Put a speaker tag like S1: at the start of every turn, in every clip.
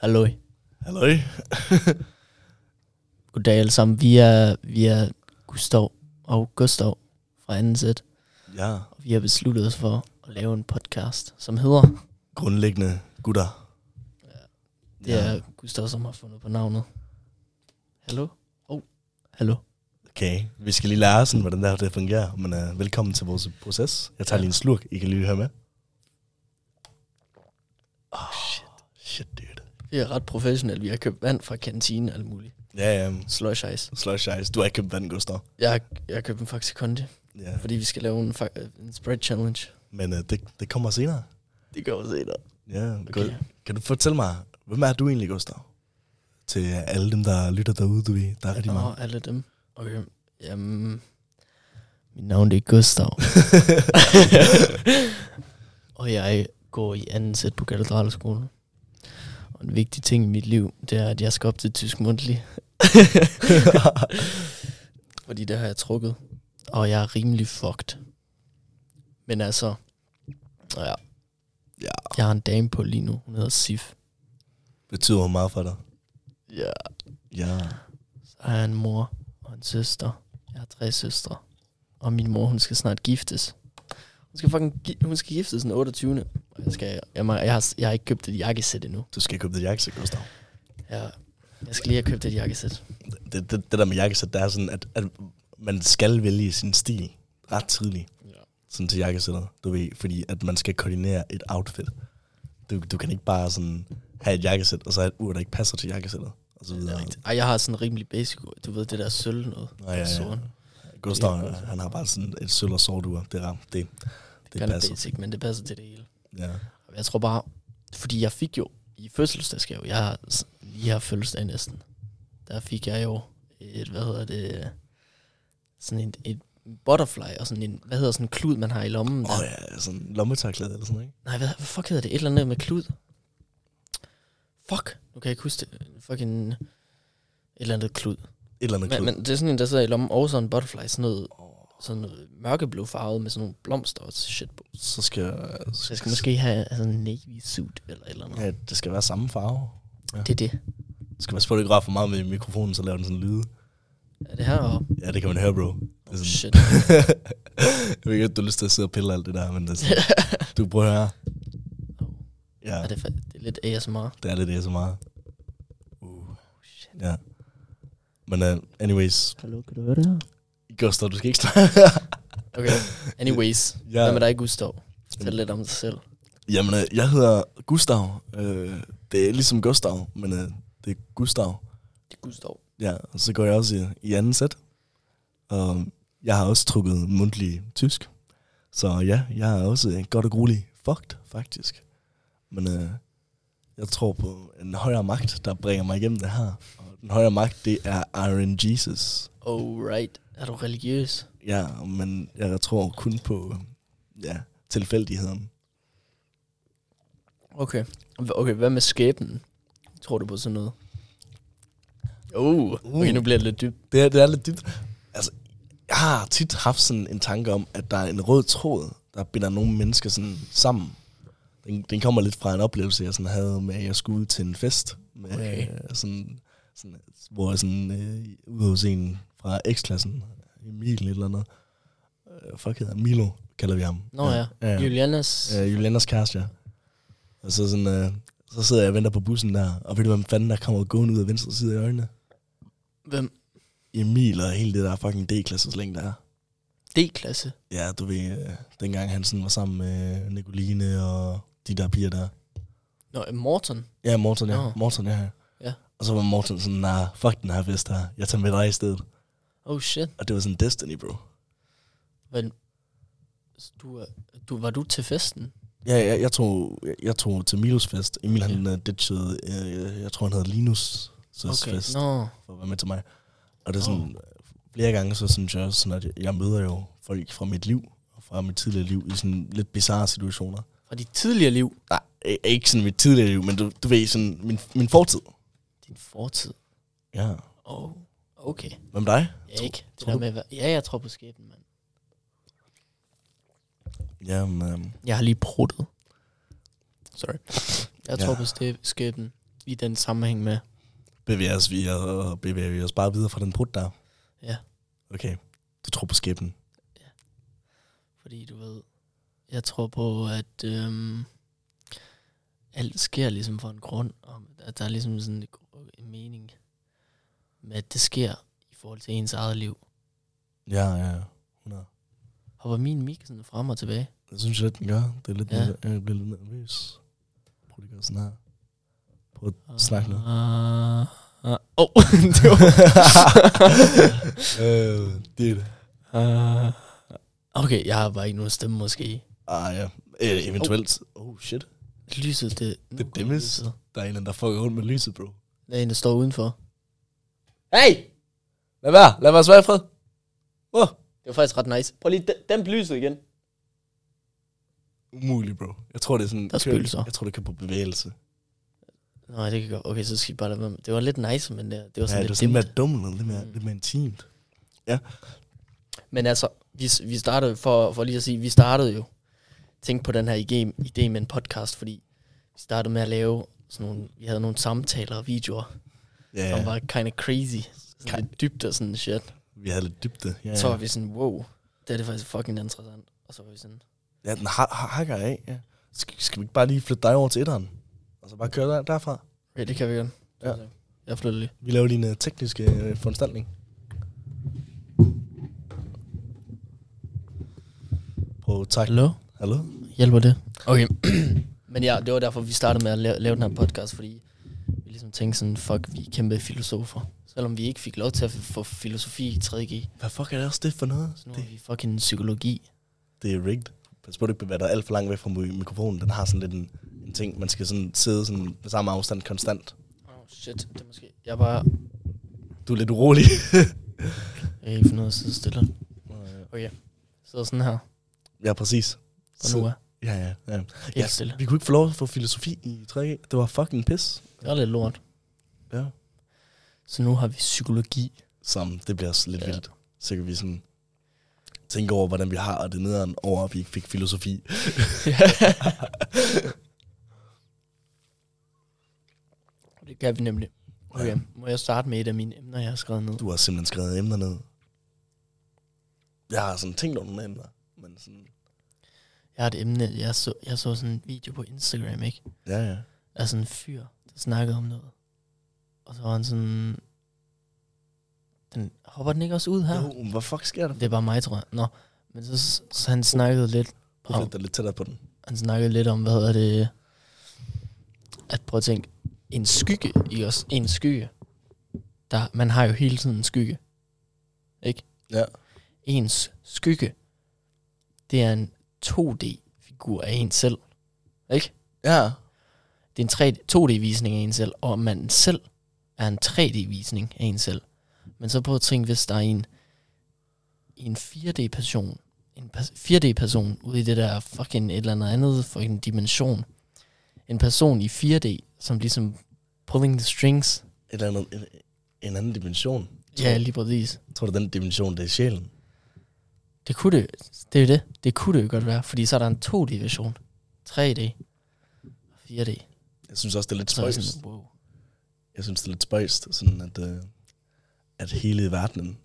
S1: Hallo.
S2: Hallo.
S1: Goddag alle sammen. Vi er, vi er Gustav og Gustav fra anden sæt,
S2: Ja,
S1: og vi har besluttet os for at lave en podcast, som hedder...
S2: grundlæggende gutter.
S1: Det ja. er Gustav, som har fundet på navnet. Hallo? Oh, hallo.
S2: Okay, vi skal lige lære sådan, hvordan det her det fungerer, men uh, velkommen til vores proces. Jeg tager lige en slurk, I kan lige høre med. Oh, shit. Shit, dude.
S1: Vi er ret professionelle. Vi har købt vand fra kantinen og alt muligt.
S2: Ja, ja.
S1: Slush ice.
S2: Slush ice. Du har ikke købt vand, Gustav.
S1: Jeg, har- jeg har købt en Faxe Kondi,
S2: Ja.
S1: fordi vi skal lave en, fa- en spread challenge.
S2: Men uh, det, det kommer senere.
S1: Det går vi senere.
S2: Ja, okay.
S1: Okay.
S2: Kan du fortælle mig, hvem er du egentlig, Gustav? Til alle dem, der lytter derude, du ved. Der er rigtig mange.
S1: Og alle dem. Okay. Jamen, mit navn det er Gustav. og jeg går i anden sæt på katedralskolen. Og en vigtig ting i mit liv, det er, at jeg skal op til tysk mundtlig. Fordi det har jeg trukket. Og jeg er rimelig fucked. Men altså, ja,
S2: Ja,
S1: jeg har en dame på lige nu. Hun hedder Sif.
S2: betyder hun meget for dig.
S1: Ja.
S2: Ja.
S1: Så har jeg en mor og en søster. Jeg har tre søstre. Og min mor, hun skal snart giftes. Hun skal, fucking gi- hun skal giftes den 28. Og jeg, skal, jeg, må- jeg, har, jeg har ikke købt et jakkesæt endnu.
S2: Du skal købe det jakkesæt, Gustav.
S1: Jeg, jeg skal lige have købt et jakkesæt.
S2: det, det, det der med jakkesæt, det er sådan, at, at man skal vælge sin stil ret tidligt
S1: Ja.
S2: sådan til jakkesættet, du ved, fordi at man skal koordinere et outfit. Du, du kan ikke bare sådan have et jakkesæt, og så have et ur, der ikke passer til jakkesættet, og så
S1: Det er
S2: videre.
S1: rigtigt. Ej, jeg har sådan rimelig basic, du ved, det der sølv noget.
S2: Nå, ja, ja.
S1: Sort.
S2: Gustav,
S1: Det er-
S2: han har bare sådan et sølv og sort ur, det er ramt, det, det,
S1: Det er
S2: det passer.
S1: basic, men det passer til det hele.
S2: Ja.
S1: Og Jeg tror bare, fordi jeg fik jo i fødselsdagsgave, jeg har s- lige har fødselsdag næsten, der fik jeg jo et, hvad hedder det, sådan et, et butterfly og sådan en, hvad hedder sådan en klud, man har i lommen.
S2: Åh
S1: der.
S2: oh, ja, sådan lommetørklæde eller sådan, ikke?
S1: Nej, hvad, hvad fuck hedder det? Et eller andet med klud? Fuck, nu kan jeg ikke huske det. Fucking et eller andet klud.
S2: Et eller andet
S1: Men,
S2: klud.
S1: men det er sådan en, der sidder i lommen, og så en butterfly, sådan noget, sådan noget mørkeblå farvet med sådan nogle blomster og shit på.
S2: Så skal, så
S1: Så jeg skal måske have sådan en navy suit eller et eller andet.
S2: Ja, det skal være samme farve.
S1: Det er det.
S2: Du skal passe på, at du ikke rører for meget med mikrofonen, så laver den sådan lyde.
S1: Er det her? Og
S2: Ja, det kan man høre, bro. Det er sådan,
S1: Shit.
S2: Jeg ved ikke, at du har lyst til at sidde og pille alt det der, men det er sådan, du prøver her. Ja,
S1: Er det, fa- det er lidt ASMR.
S2: det er det, det er så meget. Uh,
S1: shit.
S2: Ja. Men uh, anyways,
S1: Hallo, kan du høre det her?
S2: Gustav, du skal ikke snakke.
S1: Okay, anyways.
S2: Ja. Mm.
S1: ja. Hvad med dig, Gustav? Fortæl lidt om dig selv.
S2: Jamen, uh, jeg hedder Gustav. Uh, det er ligesom Gustav, men uh, det er Gustav.
S1: Det er Gustav.
S2: Ja, og så går jeg også i, i anden sæt. Og jeg har også trukket mundtlig tysk. Så ja, jeg er også øh, godt og grueligt fucked, faktisk. Men øh, jeg tror på en højere magt, der bringer mig igennem det her. Og den højere magt, det er Iron Jesus.
S1: Alright. Er du religiøs?
S2: Ja, men jeg tror kun på ja, tilfældigheden.
S1: Okay. Hva- Okay, hvad med skæbnen? Tror du på sådan noget? Oh,
S2: Uh.
S1: okay, nu bliver det lidt dybt.
S2: Det er, det er lidt dybt. Altså, jeg har tit haft sådan en tanke om, at der er en rød tråd, der binder nogle mennesker sådan sammen. Den, den kommer lidt fra en oplevelse, jeg sådan havde med, at jeg skulle ud til en fest. Med,
S1: Okay.
S2: øh, sådan, sådan, hvor jeg sådan, øh, ude hos en fra X-klassen, Emil et eller andet. Øh, fuck hedder han? Milo, kalder vi ham.
S1: Nå ja,
S2: ja, ja.
S1: Julianas.
S2: Øh, Julianas kæreste, ja. Og så, sådan, øh, så sidder jeg og venter på bussen der, og ved du, hvem fanden der kommer gående ud af venstre side af øjnene?
S1: Hvem?
S2: Emil og hele det der fucking D-klasses længde der. er.
S1: D-klasse.
S2: Ja, du ved, øh, dengang han sådan var sammen med Nicoline og de der piger der.
S1: Nå, øh, Morten.
S2: Ja, Morten, ja.
S1: Nå.
S2: Morten, ja.
S1: Ja.
S2: Og så var Morten sådan, nej, nah, fuck den her fest her. Jeg tager med dig i stedet.
S1: Oh shit.
S2: Og det var sådan Destiny, bro.
S1: Men, du, er- du, var du til festen?
S2: Ja, jeg, jeg, tog, jeg, jeg tog til Milos fest. Emil, han øh, ditchede, øh, jeg tror, han hedder Linus. Så okay. fest.
S1: Nå,
S2: for at være med til mig. Og det er sådan, flere gange, så synes jeg også sådan, at jeg- jeg møder jo folk fra mit liv, og fra mit tidligere liv, i sådan lidt bizarre situationer.
S1: fra dit tidligere liv.
S2: Nej, i- Øh, ikke sådan mit tidligere liv, men du, du ved, sådan min, min fortid.
S1: Din fortid.
S2: Ja.
S1: Oh, okay.
S2: Hvem dig?
S1: Ja, ikke. Det
S2: tror
S1: der
S2: du-
S1: med, hvad- ja, jeg tror på skæbnen, mand.
S2: Jamen, øhm,
S1: Jeg har lige pruttet. Sorry. Jeg tror
S2: Ja.
S1: på stæ- skæbnen. i den sammenhæng med.
S2: Bevæger os, vi, og bevæger vi os bare videre fra den brud der?
S1: Ja.
S2: Okay, du tror på skæbnen.
S1: Fordi du ved, jeg tror på, at øhm, alt sker ligesom for en grund, og at der er ligesom sådan en gr- en mening med, at det sker i forhold til ens eget liv.
S2: Ja, ja, ja. 100.
S1: Hopper min mik sådan frem og tilbage?
S2: Jeg synes lidt, den gør. Det er lidt,
S1: Ja.
S2: ja. jeg bliver lidt nervøs. Prøv lige at gøre sådan her. Prøv at snakke lidt.
S1: Åh, uh, oh, det var...
S2: øh, det er det.
S1: uh, okay, jeg har bare ikke nogen stemme måske.
S2: Ah, ja. Øh, eventuelt. Oh. oh, shit.
S1: Lyset, det... nu
S2: Det
S1: går
S2: dæmmes.
S1: lyset.
S2: Der er en eller anden, der fucker rundt med lyset, bro.
S1: Der er en, der står udenfor. Hey!
S2: Lad være. Lad være svært i fred. Åh. Oh.
S1: Det var faktisk ret nice. Prøv lige dæ- dæmp lyset igen.
S2: Umuligt, bro. Jeg tror, det er sådan...
S1: Der er
S2: kører-
S1: spøgelser.
S2: Jeg tror, det kan på bevægelse.
S1: Nej, det kan godt. Okay, så skal I bare lade være med. Det var lidt nice, men det, det var
S2: Ja,
S1: sådan
S2: det er
S1: lidt
S2: sådan
S1: dimt.
S2: mere dumt, lidt mere,
S1: Mm.
S2: lidt mere intimt.
S1: Men altså, vi, vi startede, for, for lige at sige, vi startede jo, tænk på den her idé, idé med en podcast, fordi vi startede med at lave sådan nogle, vi havde nogle samtaler og videoer,
S2: Ja,
S1: ja. som
S2: ja.
S1: var kind of crazy. Sådan lidt dybt og sådan shit.
S2: Vi havde lidt dybde. Ja,
S1: Ja. Så var
S2: ja.
S1: vi sådan, wow, det er det faktisk fucking interessant. Og så var vi sådan,
S2: ja den har, har, hakker af, ja. Skal, skal vi ikke bare lige flytte dig over til etteren? Og så bare køre der, derfra?
S1: okay, det kan vi godt.
S2: Ja.
S1: Jeg flytter lige.
S2: Vi laver din uh, tekniske uh, foranstaltning. På tak.
S1: Hallo?
S2: Hallo?
S1: Hjælper det? Okay. Men ja, det var derfor, vi startede med at lave, lave den her podcast, fordi vi ligesom tænkte sådan, fuck, vi er kæmpe filosofer. Selvom vi ikke fik lov til at f- få filosofi i 3G,
S2: Hvad fuck er det også det for noget?
S1: så nu har
S2: Det,
S1: vi fucking psykologi.
S2: det er rigged. Pas på, du ikke bevæger dig alt for langt væk fra mi- mikrofonen. Den har sådan lidt en, en ting, man skal sådan sidde sådan på samme afstand konstant.
S1: Oh shit, det er måske... Jeg er bare...
S2: Du er lidt urolig.
S1: Jeg kan ikke finde ud af at sidde stille. Sidder sådan her,
S2: ja, præcis.
S1: og nu er
S2: Ja, ja, ja.
S1: ikke stille.
S2: Vi kunne ikke få lov at få filosofi i 3G. Det var fucking pis.
S1: Det var lidt lort.
S2: Ja.
S1: Så nu har vi psykologi.
S2: Som, det bliver også lidt
S1: Ja.
S2: ja. vildt. Så kan vi sådan tænke over, hvordan vi har, og det er nederen over, at vi ikke fik filosofi.
S1: det kan vi nemlig. Okay, må jeg starte med et af mine emner, jeg har skrevet ned?
S2: Du har simpelthen skrevet emner ned. Jeg har sådan tænkt over nogle emner, men sådan...
S1: Jeg har et emne, jeg så, jeg så sådan en video på Instagram, ikke?
S2: Ja, ja.
S1: af sådan en fyr, der snakkede om noget. Og så var han sådan... Den, hopper den ikke også ud her?
S2: Jo,
S1: Jo.
S2: men hvad fuck sker der?
S1: Det er bare mig, tror jeg. Nå, men så, så, så han snakkede lidt
S2: Prøv at
S1: om,
S2: flytte dig lidt tættere på den.
S1: han snakkede lidt om, hvad hedder det, at prøve at tænke, en skygge i os, en skygge, der, man har jo hele tiden en skygge, ikke?
S2: Ja.
S1: Ens skygge, det er en 2D-figur af en selv, ikke?
S2: Ja.
S1: det er en 3D, 2D-visning af en selv, og man selv er en 3D-visning af en selv. Men så prøv at tænke, hvis der er en, en 4D-person, en pers- 4D-person ude i det der fucking et eller andet andet, fucking dimension. En person i 4D, som ligesom pulling the strings.
S2: Et eller andet, en, en anden dimension.
S1: Ja, lige præcis.
S2: Jeg tror, det er den dimension, det er sjælen.
S1: Det kunne det, det er jo det. Det kunne det jo godt være, fordi så er der en 2D-version, 3D, 4D.
S2: Jeg synes også, det er lidt
S1: Så er det
S2: spøjst.
S1: sådan, wow.
S2: Jeg synes, det er lidt spøjst, sådan at, øh, at hele verdenen,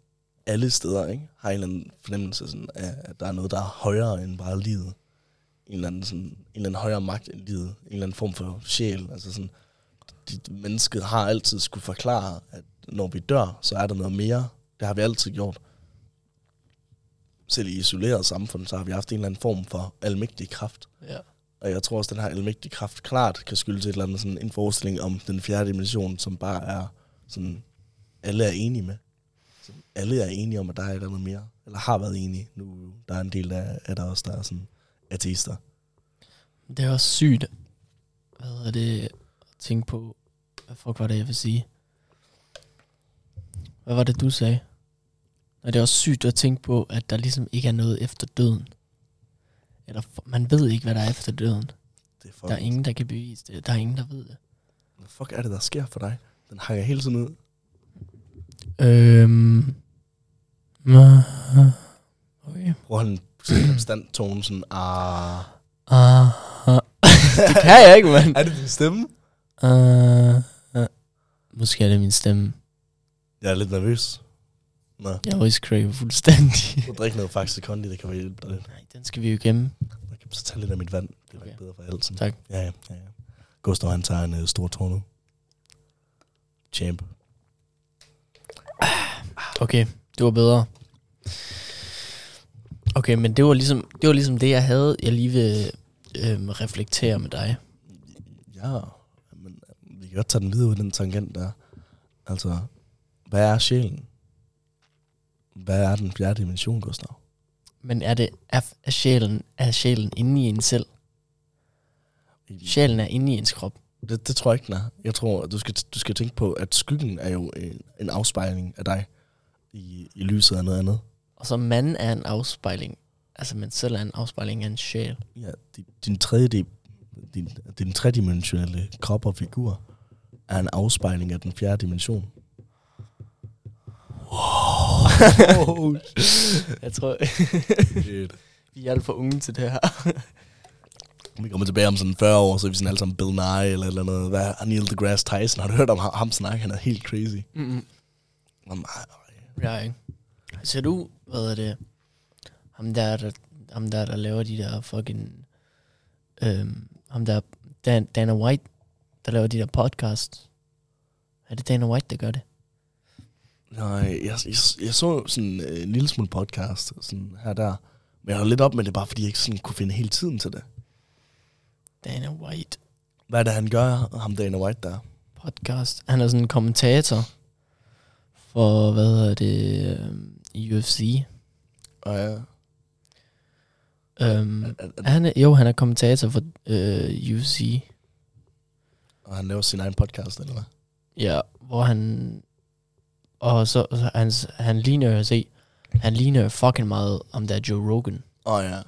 S2: alle steder, ikke, har en eller anden fornemmelse sådan, af, at der er noget, der er højere end bare livet. En eller, anden, sådan, en eller anden højere magt end livet. En eller anden form for sjæl. Altså sådan, de, mennesket har altid skulle forklare, at når vi dør, så er der noget mere. Det har vi altid gjort. Selv i isoleret samfund, så har vi haft en eller anden form for almægtig kraft.
S1: Ja.
S2: Og jeg tror også, den her almægtige kraft klart kan skyldes et eller andet sådan en forestilling om den fjerde dimension, som bare er sådan, alle er enige med. Så alle er enige om, at der er et eller andet mere. Eller har været enige. Nu der er en del af, af der også, der er sådan ateister.
S1: Det er også sygt, hvad er det, at tænke på, hvad fuck var det, jeg vil sige? Hvad var det, du sagde? Og det er også sygt at tænke på, at der ligesom ikke er noget efter døden. Eller f- man ved ikke, hvad der er efter døden.
S2: Det er fuck,
S1: Der er ingen, der kan bevise det. Der er ingen, der ved det.
S2: Hvad fuck er det, der sker for dig? Den hakker hele tiden ud.
S1: Øhm. Okay.
S2: Bruger han sådan en konstant tone sådan, ah...
S1: Uh, det kan jeg ikke, mand.
S2: Er det din stemme?
S1: Uh, Måske er det min stemme.
S2: Jeg er lidt nervøs. Nå,
S1: Jeg always crave fuldstændig.
S2: du drikke noget faktisk kondi, det kan være hjælpe dig lidt.
S1: Nej, den skal vi jo gemme.
S2: Jeg kan så tage lidt af mit vand. Det er okay.
S1: Okay.
S2: bedre for alt. sådan.
S1: Tak.
S2: Ja, ja, ja. ja. Gustav, han tager en uh, stor tår nu. Champ.
S1: Okay, det var bedre. Okay, men det var ligesom det, var ligesom det jeg havde, jeg lige vil øhm, reflektere med dig.
S2: Ja, men øh, vi kan godt tage den videre ud, den tangent der. Altså, hvad er sjælen? Hvad er den fjerde dimension, Gustav?
S1: Men er det er, er sjælen, er sjælen inde i en selv? Sjælen er inde i ens krop.
S2: Det, det tror jeg ikke, den er. Jeg tror, at du skal, du skal tænke på, at skyggen er jo en, en afspejling af dig i, i lyset af noget andet.
S1: Og så manden er en afspejling. Altså man selv er en afspejling af en sjæl.
S2: Ja, din, din tredje din, din tredimensionelle krop og figur er en afspejling af den fjerde dimension.
S1: Oh, jeg tror, vi er alt for unge til det her.
S2: Vi kommer tilbage om sådan 40 år, så er vi sådan alle sammen Bill Nye eller et eller andet. Hvad er Neil deGrasse Tyson? Har du hørt om ham, ham snakke? Han er helt crazy.
S1: Mm-mm.
S2: Nå, nej,
S1: Ja, ikke? Ser du, hvad er det, ham der, der, ham der, der laver de der fucking, øhm, ham der, Dan, Dana White, der laver de der podcast. Er det Dana White, der gør det?
S2: Nej, jeg, jeg, jeg så sådan øh, en lille smule podcast sådan her og der. Men jeg holdt lidt op med det, bare fordi jeg ikke sådan kunne finde hele tiden til det.
S1: Dana White
S2: Hvad er det, han gør, ham Dana White der?
S1: podcast. Han er sådan en kommentator for, hvad hedder det, øhm, UFC.
S2: Og ja,
S1: Øhm,
S2: at, at, at,
S1: han er, jo, han er kommentator for øh, UFC.
S2: og han laver sin egen podcast, eller hvad?
S1: Ja, hvor han... Og så, så han, han ligner jo, se, han ligner jo fucking meget om der er Joe Rogan.
S2: Åh ja.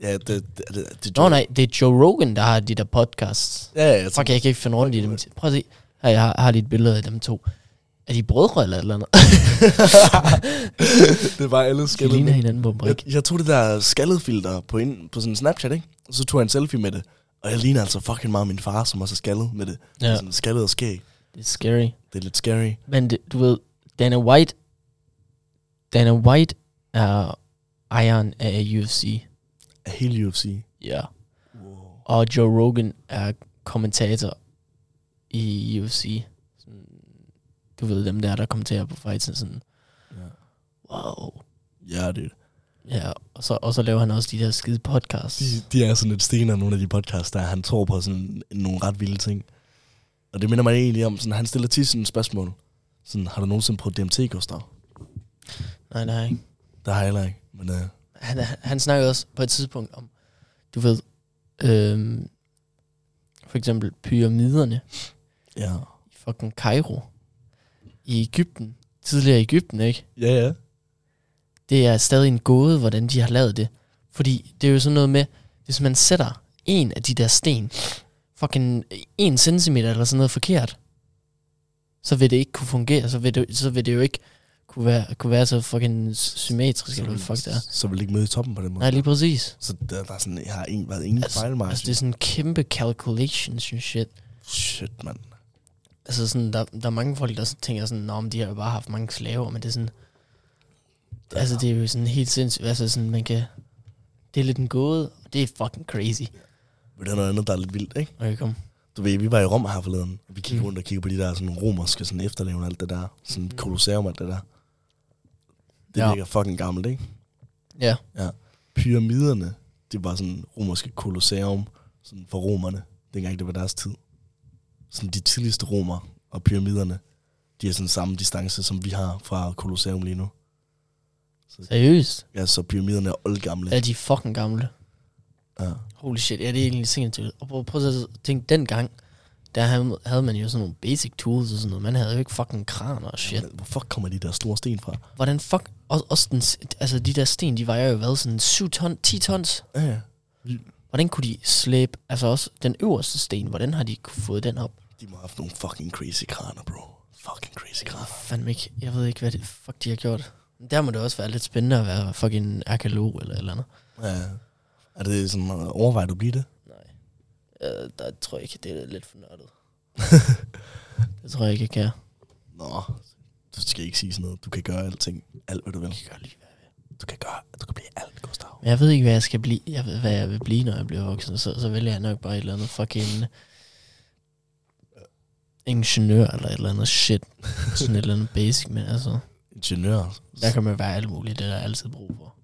S2: Ja, det, det, det, det, det
S1: Nå nej, det er Joe Rogan, der har de der podcasts.
S2: Ja, ja, jeg
S1: Fuck, jeg kan ikke finde rundt i dem. Prøv at se. Her, jeg har, har lige et billede af dem to. Er de brødre eller et eller andet?
S2: det var alle
S1: De
S2: skældet.
S1: ligner
S2: Jeg,
S1: hinanden på en brik.
S2: jeg, jeg tog det der skaldefilter på, ind, på sådan Snapchat, ikke? Og så tog jeg en selfie med det. Og jeg ligner altså fucking meget min far, som også er skaldet med det. Ja.
S1: Ja,
S2: Sådan skaldet og skæg.
S1: det er scary.
S2: Det er lidt scary.
S1: Men det, du ved, Dana White... Dana White er ejeren af UFC.
S2: Af hele UFC.
S1: Ja.
S2: Wow.
S1: Og Joe Rogan er kommentator i UFC. Sådan, du ved, dem der, der kommenterer på fights, og sådan,
S2: Ja.
S1: wow.
S2: Ja, det
S1: Ja, og så, og så laver han også de der skide podcasts.
S2: de, de er sådan lidt stener, nogle af de podcasts, der han tror på sådan nogle ret vilde ting. Og det minder mig egentlig om, sådan, han stiller tit sådan et spørgsmål. Sådan, har du nogensinde prøvet DMT, Gustav?
S1: Nej, nej.
S2: Det har jeg heller ikke, men uh,
S1: Han, han snakkede også på et tidspunkt om, du ved, øhm, for eksempel pyramiderne
S2: ja.
S1: i fucking Cairo i Ægypten. Tidligere i Ægypten, ikke?
S2: Ja, ja.
S1: det er stadig en gåde, hvordan de har lavet det. Fordi det er jo sådan noget med, hvis man sætter en af de der sten, fucking en centimeter eller sådan noget forkert, så vil det ikke kunne fungere, så vil det, så vil det jo ikke kunne være, kunne være så fucking symmetrisk, eller hvad fuck det er.
S2: Så vil det ikke møde i toppen på den måde.
S1: Nej, lige præcis.
S2: Så der, der er sådan, jeg har en, været ingen altså,
S1: Altså-
S2: fejlmargin.
S1: Altså, det er sådan en kæmpe calculations and shit.
S2: Shit, mand.
S1: Altså, sådan, der, der er mange folk, der sådan tænker sådan, Nå, men de har jo bare haft mange slaver, men det er sådan... Altså, det er jo sådan helt sindssygt. Altså, sådan, man kan... Det er lidt en gåde, og det er fucking crazy.
S2: Men det er noget andet, der er lidt vildt, ikke?
S1: Okay, kom.
S2: Du ved, vi var i Rom her forleden, og vi kiggede
S1: Mm.
S2: rundt og kiggede på de der sådan, romerske sådan, efterlevende og alt det der. Sådan
S1: Mhm.
S2: kolosseum og alt det der. Det ja.
S1: Ja.
S2: ligger fucking gammelt, ikke?
S1: Ja.
S2: Pyramiderne, det var sådan romerske kolosseum sådan for romerne, dengang det var deres tid. Sådan de tidligste romer og pyramiderne, de er sådan samme distance, som vi har fra kolosseum lige nu. Så,
S1: Seriøst?
S2: ja, så pyramiderne er oldgamle.
S1: Er de fucking gamle?
S2: Ja.
S1: Holy shit, ja, det er egentlig sindssygt. Og prøv, prøv at tænke, dengang, der havde- havde man jo sådan nogle basic tools og sådan noget. Man havde jo ikke fucking kraner og shit.
S2: Hvor fuck kommer de der store sten fra?
S1: Hvordan fuck... og- Også den, s- altså, de der sten, de vejer jo hvad? Sådan 7 ton, 10 tons?
S2: Ja, ja.
S1: Hvordan kunne de slæbe... Altså også den øverste sten, hvordan har de kunne fået den op?
S2: De må have haft nogle fucking crazy kraner, bro. Fucking crazy
S1: Jeg ved
S2: kraner.
S1: fandme ikke. Jeg ved ikke, hvad det fuck de har gjort. Men Der må det også være lidt spændende at være fucking arkeolog eller et eller andet.
S2: Ja. Er det sådan, øh, overvejer du at blive det?
S1: Nej. Øh, der tror jeg ikke, det er lidt for nørdet. det tror jeg ikke, jeg kan.
S2: Nå, du skal ikke sige sådan noget. Du kan gøre alting, alt hvad du vil. Du kan gøre lige hvad Du kan gøre, du kan blive alt, Gustav.
S1: Men jeg ved ikke, hvad jeg skal blive. Jeg ved, hvad jeg vil blive, når jeg bliver voksen. Så, så vælger jeg nok bare et eller andet fucking øh, ingeniør eller et eller andet shit. Sådan et eller andet basic, men altså,
S2: Ingeniør.
S1: der kan man være alt muligt, det er der altid brug for.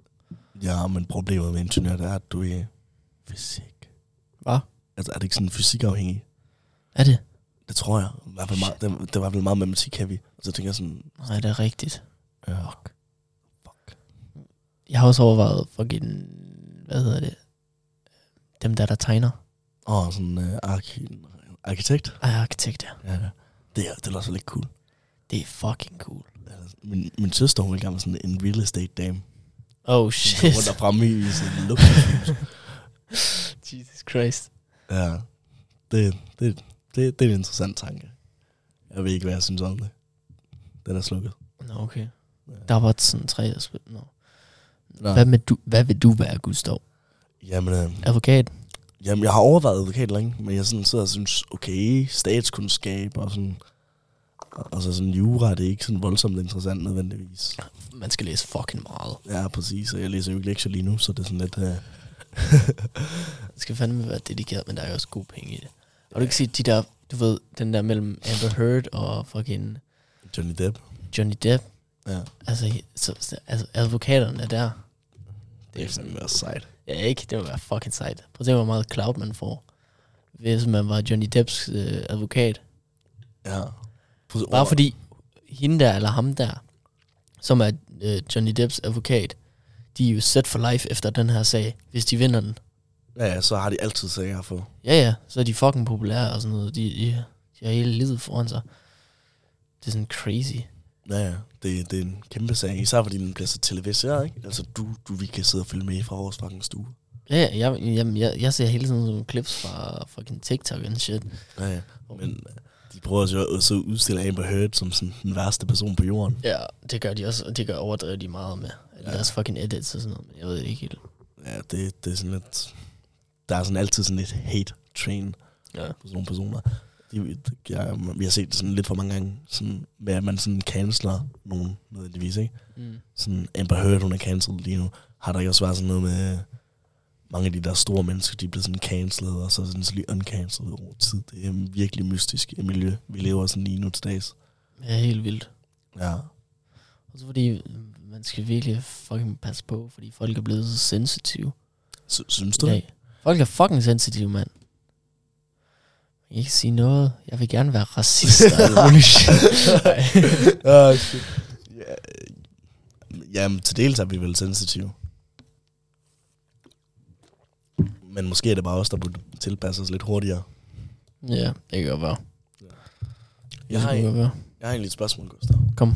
S2: Ja, men problemet med ingeniør, det er, at du er fysik.
S1: Hvad?
S2: Altså, er det ikke sådan fysikafhængig?
S1: Er det?
S2: Det tror jeg. I hvert fald meget, det, det var vel meget matematik heavy. Og så tænker jeg sådan,
S1: Nej, det er rigtigt.
S2: ja, fuck. fuck.
S1: Jeg har også overvejet fucking, hvad hedder det? øh, Dem der, der tegner.
S2: Og sådan øh, arki- arkitekt.
S1: Ej, arkitekt, ja.
S2: Ja, ja. Det, er- det lyder så lidt cool.
S1: Det er fucking cool.
S2: Altså, Min, min søster, hun vil gerne være sådan en real estate dame.
S1: Oh
S2: Hun går
S1: shit.
S2: rundt og fremme i sin luksus.
S1: Jesus Christ.
S2: Ja, det, det, det, det er en interessant tanke. Jeg ved ikke, hvad jeg synes om det. Den er slukket.
S1: Nå, okay.
S2: Ja.
S1: Der var sådan tre, der spil. Nå.
S2: Nå.
S1: Hvad, med du, hvad vil du være, Gustav?
S2: Jamen, øh,
S1: Advokat?
S2: jamen, jeg har overvejet advokat længe, men jeg sådan sidder og synes, okay, statskundskab og sådan... Og så sådan jura, det er ikke sådan voldsomt interessant nødvendigvis.
S1: Man skal læse fucking meget.
S2: Ja, præcis, og jeg læser jo ikke lektier lige nu, så det er sådan lidt... Øh,
S1: Man skal fandme være dedikeret, men der er jo også gode penge i det. Og du kan sige, de der, du ved, den der mellem Amber Heard og fucking
S2: Johnny Depp.
S1: Johnny Depp.
S2: Ja,
S1: Altså, så, så, altså advokaterne der.
S2: det er fandme også sejt.
S1: Ja, ikke? Det må være fucking sejt. Prøv at se, hvor meget cloud man får, hvis man var Johnny Depps øh, advokat.
S2: Ja. Prøv,
S1: Bare fordi hende der, eller ham der, som er øh, Johnny Depps advokat, de er jo set for life efter den her sag, hvis de vinder den.
S2: Ja, ja, så har de altid sager at få.
S1: Ja, ja, så er de fucking populære og sådan noget. De, de, de har hele livet foran sig. Det er sådan crazy.
S2: Ja, ja. Det, det er en kæmpe sag, især fordi den bliver så televiseret, ikke? Altså, du, du, vi kan sidde og følge med fra vores fucking stue.
S1: Ja, ja, jeg, jamen, jeg, jeg ser hele tiden sådan nogle clips fra fucking TikTok and shit.
S2: Ja, ja. Men øh, de prøver så også at udstille Amber Heard som sådan den værste person på jorden.
S1: Ja, det gør de også, og det gør overdrevet de meget med. Ja.
S2: Ja.
S1: Deres fucking edits og sådan noget, men jeg ved det ikke helt.
S2: Ja, det, det er sådan lidt... Der er sådan altid sådan lidt hate train
S1: Ja.
S2: på sådan nogle personer. De, de, jeg, vi har set det sådan lidt for mange gange, sådan, med at man sådan canceler nogen nødvendigvis, ikke?
S1: Mm.
S2: Sådan Amber Heard, hun er cancelled lige nu. Har der ikke også været sådan noget med... øh, Mange af de der store mennesker, de er blevet sådan cancelled, og så sådan så lige uncancelled over tid. Det er virkelig mystisk et miljø, vi lever sådan lige nu til dags.
S1: Ja, helt vildt.
S2: Ja.
S1: Og så fordi, øh, man skal virkelig fucking passe på, fordi folk er blevet så sensitive
S2: Sy- synes
S1: i
S2: du? det?
S1: dag. Folk er fucking sensitive, mand. Jeg kan ikke sige noget. Jeg vil gerne være racist og alt muligt shit. Ej.
S2: Ah, shit. Ja, øh, jamen, til dels er vi vel sensitive. Men måske er det bare os, der burde tilpasse os lidt hurtigere.
S1: ja, det kan godt være.
S2: Jeg
S1: Det
S2: har,
S1: kan
S2: en,
S1: godt være.
S2: jeg har egentlig et spørgsmål, Gustav.
S1: Kom.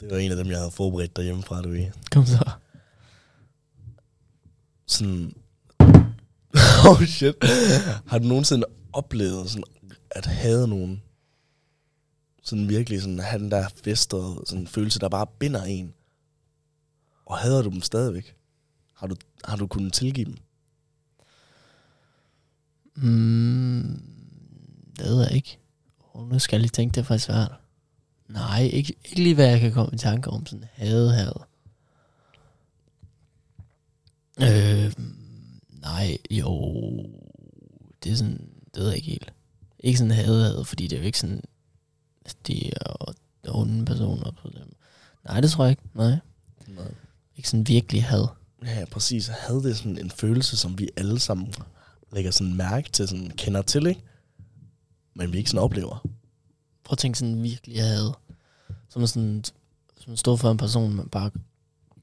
S2: Det var en af dem, jeg havde forberedt derhjemme fra, du ved.
S1: Kom så.
S2: Sådan... oh shit. Har du nogensinde oplevet sådan, at have nogen? Sådan virkelig sådan, have den der festede sådan følelse, der bare binder en. Og hader du dem stadigvæk? Har du, har du kunnet tilgive dem?
S1: Mm, det ved jeg ikke. Oh, nu skal jeg lige tænke, det er faktisk svært. Nej, ikke, ikke lige hvad jeg kan komme i tanke om sådan had, had. Øh, nej, jo, det er sådan, det ved jeg ikke helt. Ikke sådan had, had, fordi det er jo ikke sådan, at de er onde personer på dem. Nej, det tror jeg ikke, nej.
S2: Nej.
S1: Ikke sådan virkelig had.
S2: Ja, ja, præcis. Havde det sådan en følelse, som vi alle sammen lægger sådan mærke til, sådan kender til, ikke? Men vi ikke sådan oplever.
S1: prøv at tænke sådan virkelig, jeg havde. Som er sådan, som står for en person, man bare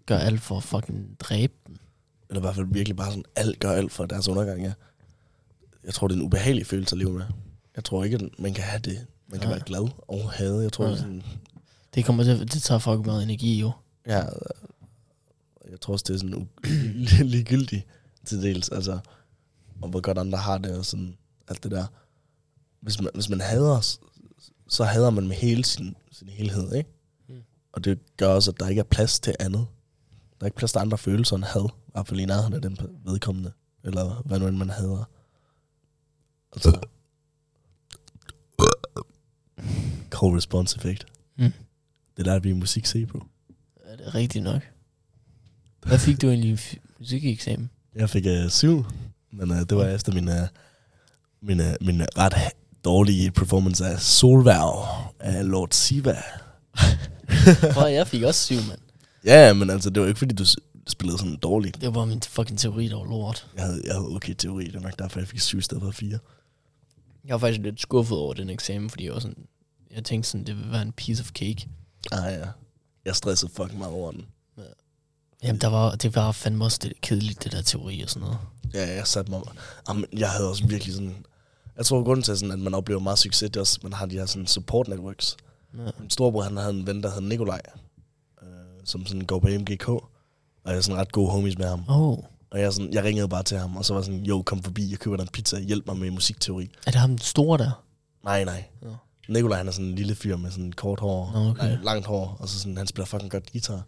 S1: gør alt for at fucking dræbe den.
S2: Eller i hvert fald virkelig bare sådan, alt gør alt for deres undergang, ja. Jeg tror, det er en ubehagelig følelse at leve med. Jeg tror ikke, at man kan have det. Man kan
S1: Nej.
S2: være glad og hade. Jeg tror,
S1: Nej.
S2: sådan,
S1: Det kommer til, det tager fucking meget energi jo.
S2: ja, øh, jeg tror også, det er sådan u- ligegyldigt til dels. Altså, og hvor godt andre har det og sådan alt det der. Hvis man, hvis man hader, s- så hader man med hele sin, sin helhed, ikke?
S1: Mm.
S2: Og det gør også, at der ikke er plads til andet. Der er ikke plads til andre følelser end had. I hvert fald i nærheden af den pe- vedkommende. Eller hvad nu end man hader. Altså, Call response effekt.
S1: Mm.
S2: Det lader vi musik se på.
S1: Er det rigtigt nok? Hvad fik du egentlig i f- musikeksamen?
S2: Jeg fik øh, syv, men øh, det var efter min, øh, min, øh, min ret dårlige performance af Solværv af Lord Siva.
S1: Prøv, jeg fik også syv, mand.
S2: Ja, men altså, det var ikke fordi, du s- spillede sådan dårligt.
S1: Det var min fucking teori, der var lort.
S2: Jeg havde, jeg havde okay teori, det var nok derfor, jeg fik syv i stedet for fire.
S1: Jeg var faktisk lidt skuffet over den eksamen, fordi jeg var sådan... Jeg tænkte sådan, det ville være en piece of cake.
S2: Ah ja, jeg stressede fucking meget over den.
S1: Jamen, der var, det var fandme også det kedeligt, det der teori og sådan noget.
S2: Ja, jeg satte mig... Jamen, jeg havde også virkelig sådan... Jeg tror, grunden til, sådan, at man oplever meget succes, det er også, at man har de her sådan, support networks.
S1: Ja.
S2: Min storebror, han havde en ven, der hed Nikolaj, øh, som sådan går på MGK, og jeg er sådan ret gode homies med ham.
S1: Oh,
S2: Og jeg, er sådan, jeg ringede bare til ham, og så var jeg sådan, jo, kom forbi, jeg køber dig en pizza, hjælp mig med musikteori.
S1: er det ham den store der?
S2: Nej, nej.
S1: Nå.
S2: Nikolaj, han er sådan en lille fyr med sådan kort hår,
S1: Nå, okay.
S2: nej, langt hår, og så sådan, han spiller fucking godt guitar.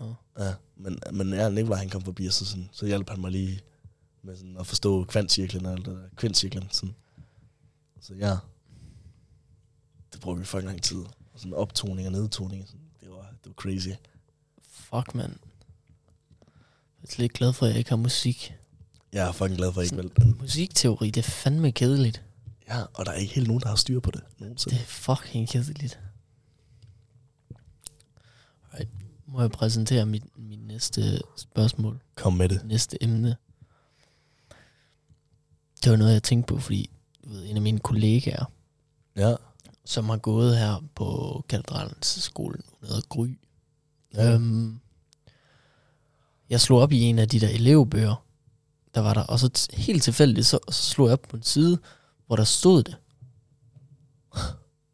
S1: Nå.
S2: Ja, men, men ja, Nikolaj, han kom forbi, og så, sådan, så hjalp han mig lige med sådan at forstå kvantcirklen og alt det der, kvintcirklen. Sådan. Så ja, det brugte vi fucking lang tid. Og sådan optoning og nedtoning, sådan, det, var, det var crazy.
S1: Fuck, mand. Jeg er lidt glad for, at jeg ikke har musik.
S2: Jeg er fucking glad for, at jeg ikke valgte den.
S1: Musikteori, det er fandme kedeligt.
S2: Ja, og der er ikke helt nogen, der har styr på det nogensinde.
S1: Det er fucking kedeligt. Alright. Må jeg præsentere mit, mit næste spørgsmål?
S2: Kom med det.
S1: næste emne. Det var noget, jeg tænkte på, fordi du ved, en af mine kollegaer,
S2: Ja.
S1: som har gået her på katedralens skole, hun hedder Gry.
S2: Ja.
S1: Ja. Øhm, jeg slog op i en af de der elevbøger, der var der, og så t- helt tilfældigt, så, så slog jeg op på en side, hvor der stod det.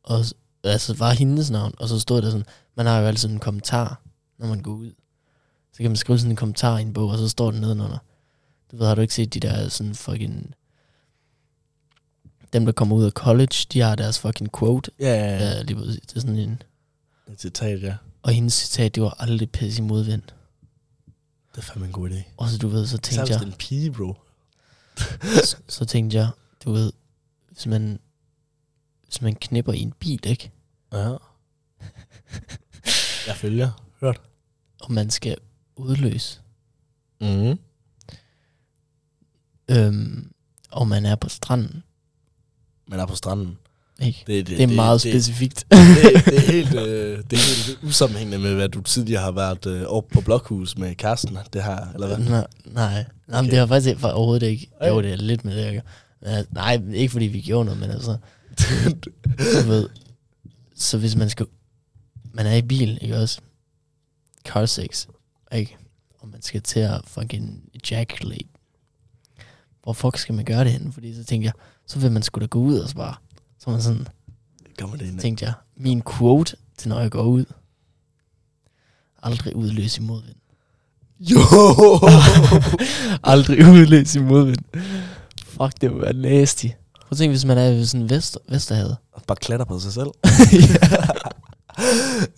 S1: og s- altså var hendes navn, og så stod der sådan, man har jo altid en kommentar, når man går ud. Så kan man skrive sådan en kommentar i en bog, og så står den nedenunder. Du ved, har du ikke set de der sådan fucking... Dem, der kommer ud af college, de har deres fucking quote.
S2: Ja, ja, ja.
S1: Ja, lige præcis. Det er sådan en...
S2: Et citat, ja.
S1: Og hendes citat, det var aldrig pisse i modvind.
S2: Det er fandme en god idé.
S1: Og så du ved, så
S2: Især
S1: tænkte
S2: hvis
S1: jeg...
S2: det er en pige, bro.
S1: så, så tænkte jeg, du ved, hvis man, hvis man knipper i en bil, ikke?
S2: Ja. Jeg følger.
S1: Og man skal udløse,
S2: Mm.
S1: øhm, og man er på stranden,
S2: Man er på stranden.
S1: ikke? Det,
S2: Det,
S1: det er meget
S2: det,
S1: specifikt.
S2: Det, det, det, er helt, øh, det er helt usammenhængende med, hvad du tidligere har været øh, oppe på Blokhus med Karsten. Det her, eller hvad?
S1: nej, nej, nej
S2: Okay.
S1: men det har faktisk ikke- overhovedet ikke.
S2: Ej.
S1: Jo, det er lidt med det, jeg gør. Men altså, nej, ikke fordi vi gjorde noget, men altså, du ved, så hvis man skal, man er i bil, ikke også? Car sex, ikke? Og man skal til at fucking ejaculate. Hvor fuck skal man gøre det henne? Fordi så tænkte jeg, så vil man sgu da gå ud og så bare, så er man sådan,
S2: Kommer det ind?
S1: tænkte jeg, min quote til når jeg går ud, aldrig udløs i modvind.
S2: Jo!
S1: Aldrig udløs i modvind. Fuck, det må være nasty. Prøv at tænke, hvis man er ved sådan vest, Vesterhavet.
S2: Og Bare klatter på sig selv.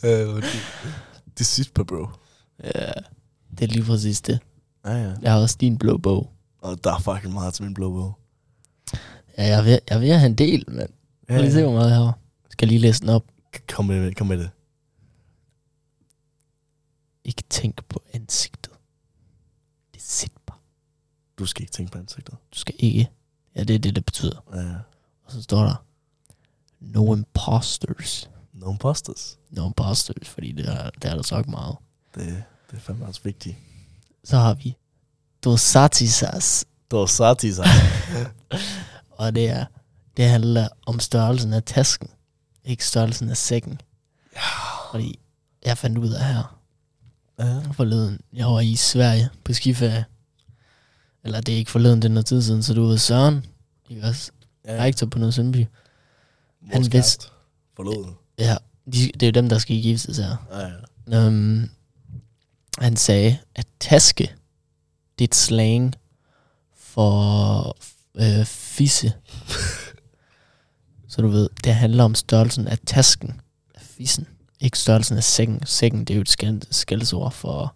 S2: øh, det, det er sidst på, bro.
S1: ja. Det er lige præcis det.
S2: Ja, ja.
S1: Jeg har også din blå bog.
S2: Og der er fucking meget til min blå bog.
S1: Ja, jeg vil, jeg vil have en del, mand. Ja, ja. lige se, hvor meget jeg har. Skal lige læse den op.
S2: Kom med, kom med det.
S1: Ikke tænk på ansigtet. Det er sindbar.
S2: Du skal ikke tænke på ansigtet. Øh,
S1: Du skal ikke. Ja, det er det, det betyder.
S2: Ja, ja.
S1: Og så står der, no imposters.
S2: No imposters.
S1: No imposters, fordi det er, det er der sagt meget.
S2: Det, det er fandme også vigtigt.
S1: Så har vi dosatisas.
S2: Dorsati sig.
S1: Og det er, det handler om størrelsen af tasken, ikke størrelsen af sækken. Ja. Fordi jeg fandt ud af her
S2: ja.
S1: forleden, jeg var i Sverige på skiferie. Eller det er ikke forleden, det er noget tid siden, så du ved Søren, ikke også?
S2: ja.
S1: Rektor på noget Sundby.
S2: Vores
S1: han
S2: kæreste.
S1: vidste-
S2: Forlod.
S1: Ja, de, det er jo dem, der skal giftes her.
S2: Ja, ja.
S1: Um, han sagde, at taske, det er et slang for øh, fisse. Så du ved, det handler om størrelsen af tasken, af fissen. Ikke størrelsen af sækken. Sækken, det er jo et skæld- skældsord for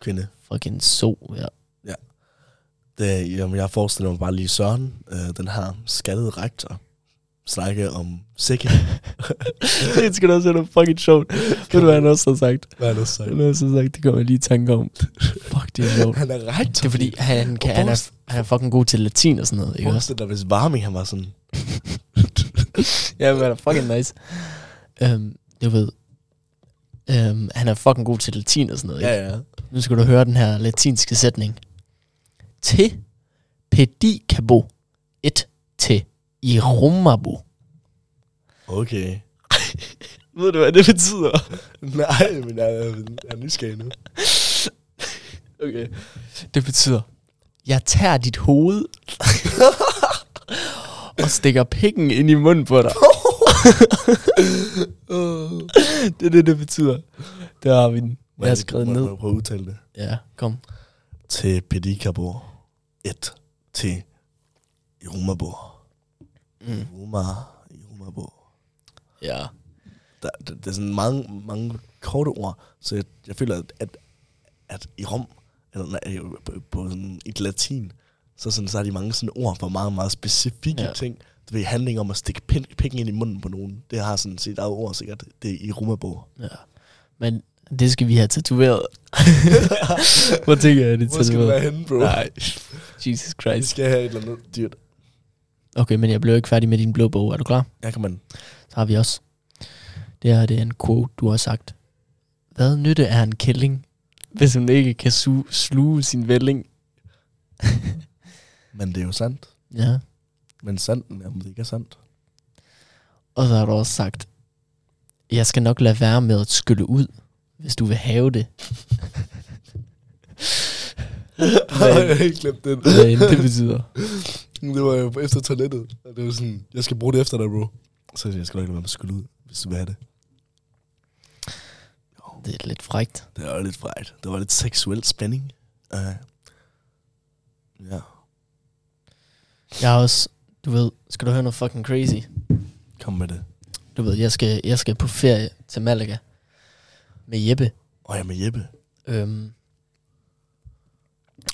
S2: Kvinde.
S1: fucking so. Ja.
S2: Det, jamen, jeg forestiller mig bare lige Søren, øh, den her skaldede rektor, snakke om sække.
S1: det skal også være noget fucking sjovt. Ved du, hvad han også har sagt?
S2: Hvad er det sagt?
S1: Han har også sagt, det kommer jeg lige i tanke om. Fuck, det er sjovt.
S2: Han er ret.
S1: Det er fordi, han, kan, han, er, han er fucking god til latin og sådan noget, ikke også?
S2: Forestil dig, hvis Varming han var sådan.
S1: Ja, men han er fucking nice. Øhm, du ved, øhm, han er fucking god til latin og sådan noget, ikke?
S2: ja.
S1: Nu skal du høre den her latinske sætning. Te pedicabo et te i rumabo.
S2: Okay.
S1: Ved du, hvad det betyder?
S2: Nej, men jeg, er- jeg er nysgerrig nu.
S1: Okay. Det betyder, jeg tager dit hoved og stikker pikken ind i munden på dig. det er det, det betyder. Der har vi den. Jeg har skrevet
S2: må,
S1: den ned.
S2: Må jeg prøve at udtale det?
S1: Ja, kom.
S2: Til Pedicabor. Et. Til Rumabor.
S1: Mm.
S2: Ruma. Rumabor.
S1: Ja.
S2: Der, der, der, er sådan mange, mange korte ord, så jeg, jeg føler, at, at, at i Rom, eller nej, på, på sådan et latin, så, sådan, så er de mange sådan ord for meget, meget specifikke
S1: Ja.
S2: ja. ting. Det ved handling om at stikke pin, pikken ind i munden på nogen. Det har sådan sit eget ord sikkert. Det er i Rumabor.
S1: ja. Men det skal vi have tatoveret. Hvor tænker jeg, det er tatoveret?
S2: henne, bro?
S1: Nej. Jesus
S2: Vi
S1: Christ.
S2: skal have et eller andet dyrt.
S1: Okay, men jeg blev ikke færdig med din blå bog. Er du klar?
S2: Jeg kan man.
S1: Så har vi også. Det her det er en quote, du har sagt. Hvad nytte er en kælling, hvis hun ikke kan su- sluge sin vælling?
S2: Men det er jo sandt.
S1: Ja.
S2: Men sanden er måske ikke er sandt.
S1: Og så har du også sagt, jeg skal nok lade være med at skylle ud, hvis du vil have det. Hvad-
S2: jeg har ikke glemt den.
S1: Hvad end det betyder.
S2: det var jo efter toilettet. Og det var sådan, jeg skal bruge det efter dig, bro. Så siger jeg, jeg skal nok lade være med at skylle ud, hvis du vil have det.
S1: Det er lidt frægt.
S2: Det var lidt frejt. Der var lidt seksuel spænding. Uh, ja,
S1: Jeg har også, du ved, skal du høre noget fucking crazy?
S2: kom med det.
S1: Du ved, jeg skal, jeg skal på ferie til Malaga med Jeppe.
S2: Og jeg er med Jeppe.
S1: Øhm,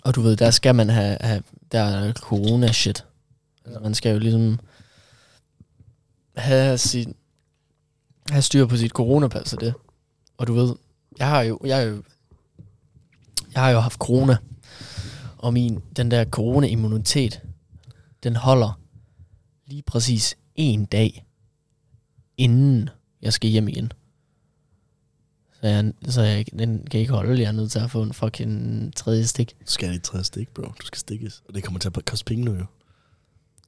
S1: og du ved, der skal man have, have der er corona-shit. Altså, man skal jo ligesom have, sit, have styr på sit coronapas og det. Og du ved, jeg har jo, jeg har jo, jeg har jo haft corona, og min, den der corona-immunitet, den holder lige præcis en dag, inden jeg skal hjem igen. Så jeg, så jeg, den kan ikke holde, jeg er nødt til at få en fucking tredje stik.
S2: Du skal have dit tredje stik, bro. Du skal stikkes. Og det kommer til at koste penge nu, jo.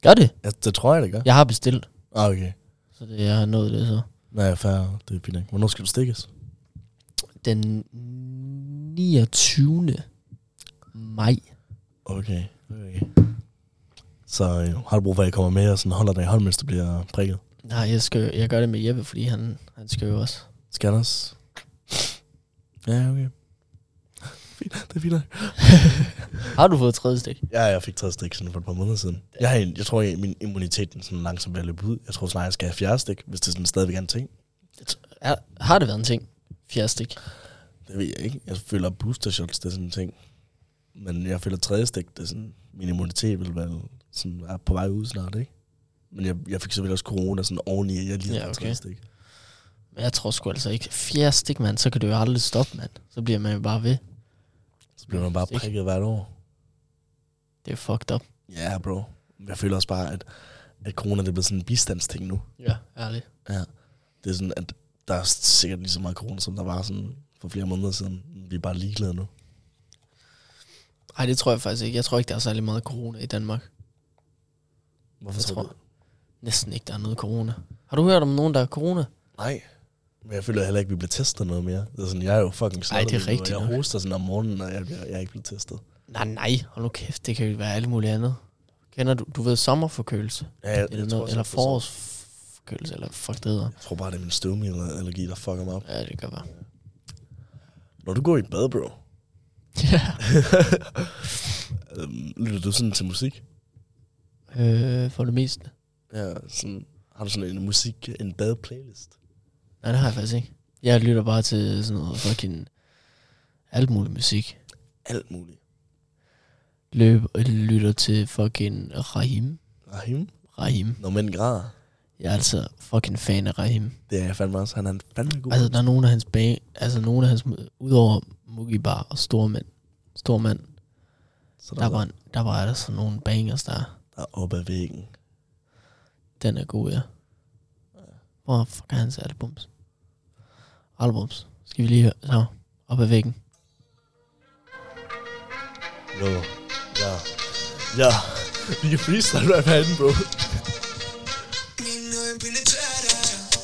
S1: Gør det?
S2: Ja, det tror jeg, det gør.
S1: Jeg har bestilt,
S2: Ah, okay.
S1: så det, jeg har nået det så.
S2: Nej, fair. Det er fint. nok. Hvornår skal du stikkes?
S1: Den 29. maj.
S2: Okay. okay. Så øh, har du brug for, at jeg kommer med og sådan holder dig i hånden, mens du bliver prikket?
S1: Nej, jeg, skal, jo- jeg gør det med Jeppe, fordi han, han skal jo også.
S2: Skal jeg også? Ja, okay. Fint, det er fint. nok.
S1: Har du fået tredje stik?
S2: Ja, jeg fik taget stik sådan for et par måneder siden. Jeg, har, en- jeg tror, at min immunitet den sådan langsomt ved at løbe ud. Jeg tror snart, jeg skal have fjerde stik, hvis det sådan stadigvæk er en ting.
S1: Er, har det været en ting? Fjerde stik.
S2: Det ved jeg ikke. Jeg føler booster shots, det er sådan en ting. Men jeg føler tredje stik, det er sådan, min immunitet vil være sådan, er på vej ud snart, ikke? Men jeg, jeg fik selvfølgelig også corona sådan oveni, at jeg lige
S1: Ja,
S2: havde ja, okay.
S1: okay.
S2: tredje stik.
S1: Men jeg tror sgu altså ikke. Fjerde stik, mand, så kan du jo aldrig stoppe, mand. Så bliver man jo bare ved.
S2: Så bliver man bare
S1: Stik.
S2: prikket hvert år.
S1: Det er fucked up.
S2: Ja, yeah, bro. Jeg føler også bare, at, at corona det er blevet sådan en bistandsting nu.
S1: Ja, ærligt.
S2: Ja. Det er sådan, at der er sikkert lige så meget corona, som der var sådan for flere måneder siden. Vi er bare ligeglade nu.
S1: Nej, det tror jeg faktisk ikke. Jeg tror ikke, der er særlig meget corona i Danmark.
S2: Hvorfor
S1: Jeg
S2: tror
S1: tror
S2: du?
S1: næsten ikke, der er noget corona. Har du hørt om nogen, der er corona?
S2: Nej. Men jeg føler heller ikke, at vi bliver testet noget mere. Det er sådan, jeg er jo fucking
S1: Ej, det er
S2: lige nu, og
S1: rigtigt nok.
S2: Jeg hoster sådan om morgenen, og jeg, bliver, jeg er ikke blevet testet.
S1: Nej, nej, hold nu kæft, det kan jo være alt muligt andet. Kender du, du ved, sommerforkølelse?
S2: Ja, jeg,
S1: Eller,
S2: tror
S1: noget, eller
S2: også, jeg får sådan-
S1: forårsforkølelse, eller hvad fuck det hedder.
S2: Jeg tror bare, det er min støvmiddelallergi, der fucker mig op.
S1: Ja, det kan være.
S2: Når du går i bad, bro,
S1: Ja.
S2: øhm, lytter du sådan til musik?
S1: øh, for det meste.
S2: Ja, sådan, har du sådan en musik, en bad-playlist?
S1: Nej, det har jeg faktisk ikke. Jeg lytter bare til sådan noget fucking alt muligt musik.
S2: Alt muligt.
S1: Løb, lytter til fucking Rahim.
S2: Rahim?
S1: Rahim.
S2: Når mænd græder.
S1: Jeg er altså fucking fan af Rahim.
S2: Det er jeg fandme også. Han er en fandme god.
S1: Altså, der er nogle af hans bag... Altså, nogle af hans... Udover Mugibar og Stormand, Stormand
S2: så
S1: der, var, der var der sådan nogle bangers der.
S2: der er oppe ad væggen.
S1: Den er god, ja. Hvor fuck er hans albums? Albums. Skal vi lige høre? Så, op ad væggen.
S2: Nå. Ja. Ja. Vi kan freestyle rap herinde, bro.
S3: Mine øjne penetrerer dig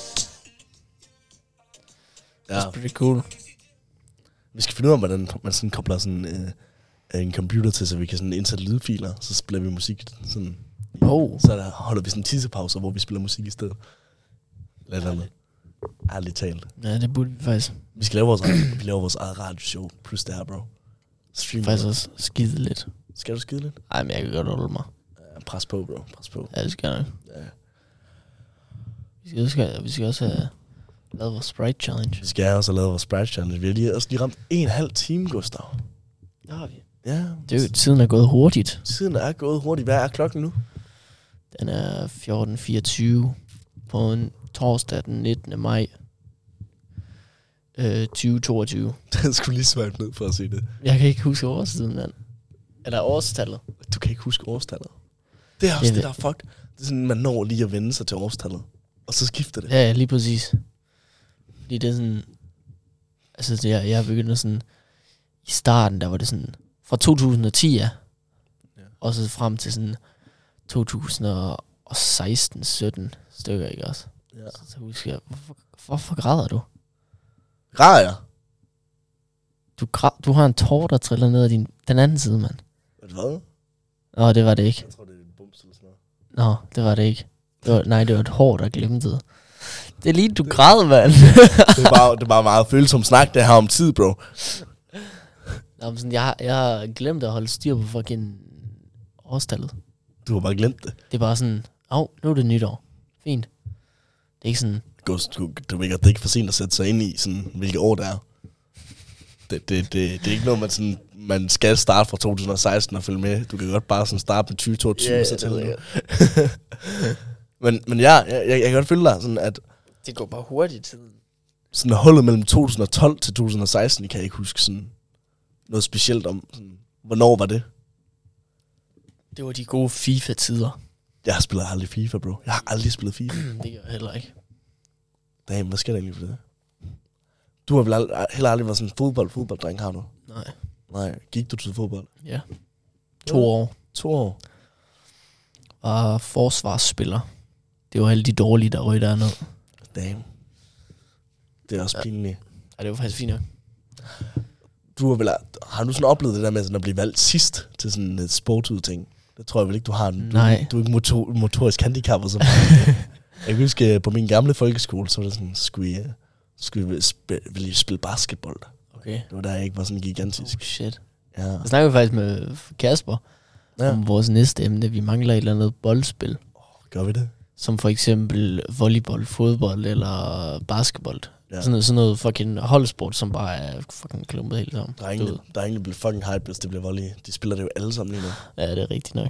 S2: Ja.
S1: That's pretty cool.
S2: Vi skal finde ud af, hvordan man sådan kobler sådan øh, en computer til, så vi kan sådan indsætte lydfiler, så spiller vi musik sådan.
S1: Oh.
S2: Så der holder vi sådan tissepauser, hvor vi spiller musik i stedet. Lad det andet. Ærligt talt.
S1: Ja, det burde vi faktisk,
S2: Vi skal lave vores, eget- vi laver vores eget radioshow, plus det her, bro. Stream.
S1: faktisk også skide lidt.
S2: Skal du skide lidt?
S1: Ej, men jeg kan godt holde mig.
S2: Ja, pres på, bro. Pres på.
S1: Ja, det skal jeg nok.
S2: Ja.
S1: Vi skal, også, vi skal også have lavet vores Sprite Challenge.
S2: Vi skal have også have lavet vores Sprite Challenge. Vi har lige, også lige ramt en og en halv time, Gustav.
S1: Det har vi.
S2: Ja.
S1: Det er jo, tiden er gået hurtigt.
S2: Tiden er gået hurtigt. Hvad er klokken nu?
S1: Den er 14.24 på en torsdag den 19. maj øh, 2022.
S2: Den skulle lige swipe ned for at se det.
S1: Jeg kan ikke huske årstiden, mand. Eller årstallet.
S2: Du kan ikke huske årstallet. Det er også
S1: Jeg
S2: det,
S1: ved-
S2: der er fucked. Det er sådan, man når lige at vende sig til årstallet. Og så skifter det.
S1: Ja, ja, lige præcis. Fordi det er sådan... Altså, det er, jeg begynder sådan... I starten, der var det sådan... Fra 2010, ja.
S2: Ja.
S1: Og så frem til sådan 2016-17 stykker, ikke også?
S2: Ja.
S1: Så, så husker jeg, hvorfor, hvorfor græder du?
S2: Rager.
S1: Du, græd, du har en tår, der triller ned ad din, den anden side, mand.
S2: Hvad?
S1: Nå, det var det ikke.
S2: Jeg tror, det er en bums eller sådan noget.
S1: Nå, det var det ikke. Det var, nej, det var et hår, der glimtede. Det er lige, du græd, mand.
S2: Det var, det var meget følsom snak, det her om tid, bro.
S1: Nå, men sådan, jeg, har- jeg har glemt at holde styr på fucking årstallet.
S2: Du har bare glemt det.
S1: Det er bare sådan, åh, oh, nu er det nytår. Fint. Det er ikke sådan,
S2: Ghost, du, du ved godt, det er ikke for sent at sætte sig ind i, sådan, hvilke år det er. Det, det, det, det er ikke noget, man, sådan, man skal starte fra 2016 og følge med. Du kan godt bare sådan starte med 2022.
S1: Ja, ja,
S2: så
S1: det
S2: til
S1: ved
S2: nu.
S1: jeg
S2: men, men ja, jeg, jeg, jeg kan godt følge dig, sådan, at
S1: det går bare hurtigt tiden.
S2: sådan hullet mellem 2012 til 2016, kan jeg ikke huske sådan noget specielt om. Sådan, hvornår var det?
S1: Det var de gode FIFA-tider. Mm,
S2: Jeg har spillet aldrig FIFA, bro. Jeg har aldrig spillet FIFA.
S1: det gør jeg heller ikke.
S2: Damn, hvad skal der egentlig for det? Du har vel aldrig, heller aldrig været sådan en fodbold, fodbolddreng, har du?
S1: Nej.
S2: Nej, gik du til fodbold?
S1: Ja. To år
S2: To år.
S1: var forsvarsspiller. Det var alle de dårlige, der røg derned.
S2: Damn. Det er også pinligt.
S1: Og det var faktisk fint nok.
S2: Du har, vel, har du sådan oplevet det der med sådan at blive valgt sidst til sådan et sportudting? Det tror jeg vel ikke, du har. Du,
S1: Nej.
S2: Du er ikke motor, motorisk handicappet så meget. jeg kan huske, øh, på min gamle folkeskole, så var det sådan, skulle jeg, skulle jeg spille, ville jeg spille basketball?
S1: Okay.
S2: Det var der, jeg ikke var sådan gigantisk.
S1: Oh, shit.
S2: Ja.
S1: Jeg snakker faktisk med Kasper
S2: Ja.
S1: ja. om vores næste emne. Vi mangler et eller andet boldspil.
S2: Gør vi det?
S1: Som for eksempel volleyball, fodbold eller basketball.
S2: Ja.
S1: Ja. Sådan, noget, sådan noget fucking holdsport, som bare er fucking klumpet helt sammen.
S2: Der er ingen,
S1: Du ved.
S2: der er ingen, der bliver fucking hype, hvis det bliver volley. De spiller det jo alle sammen lige nu.
S1: Ja, det er rigtigt nok.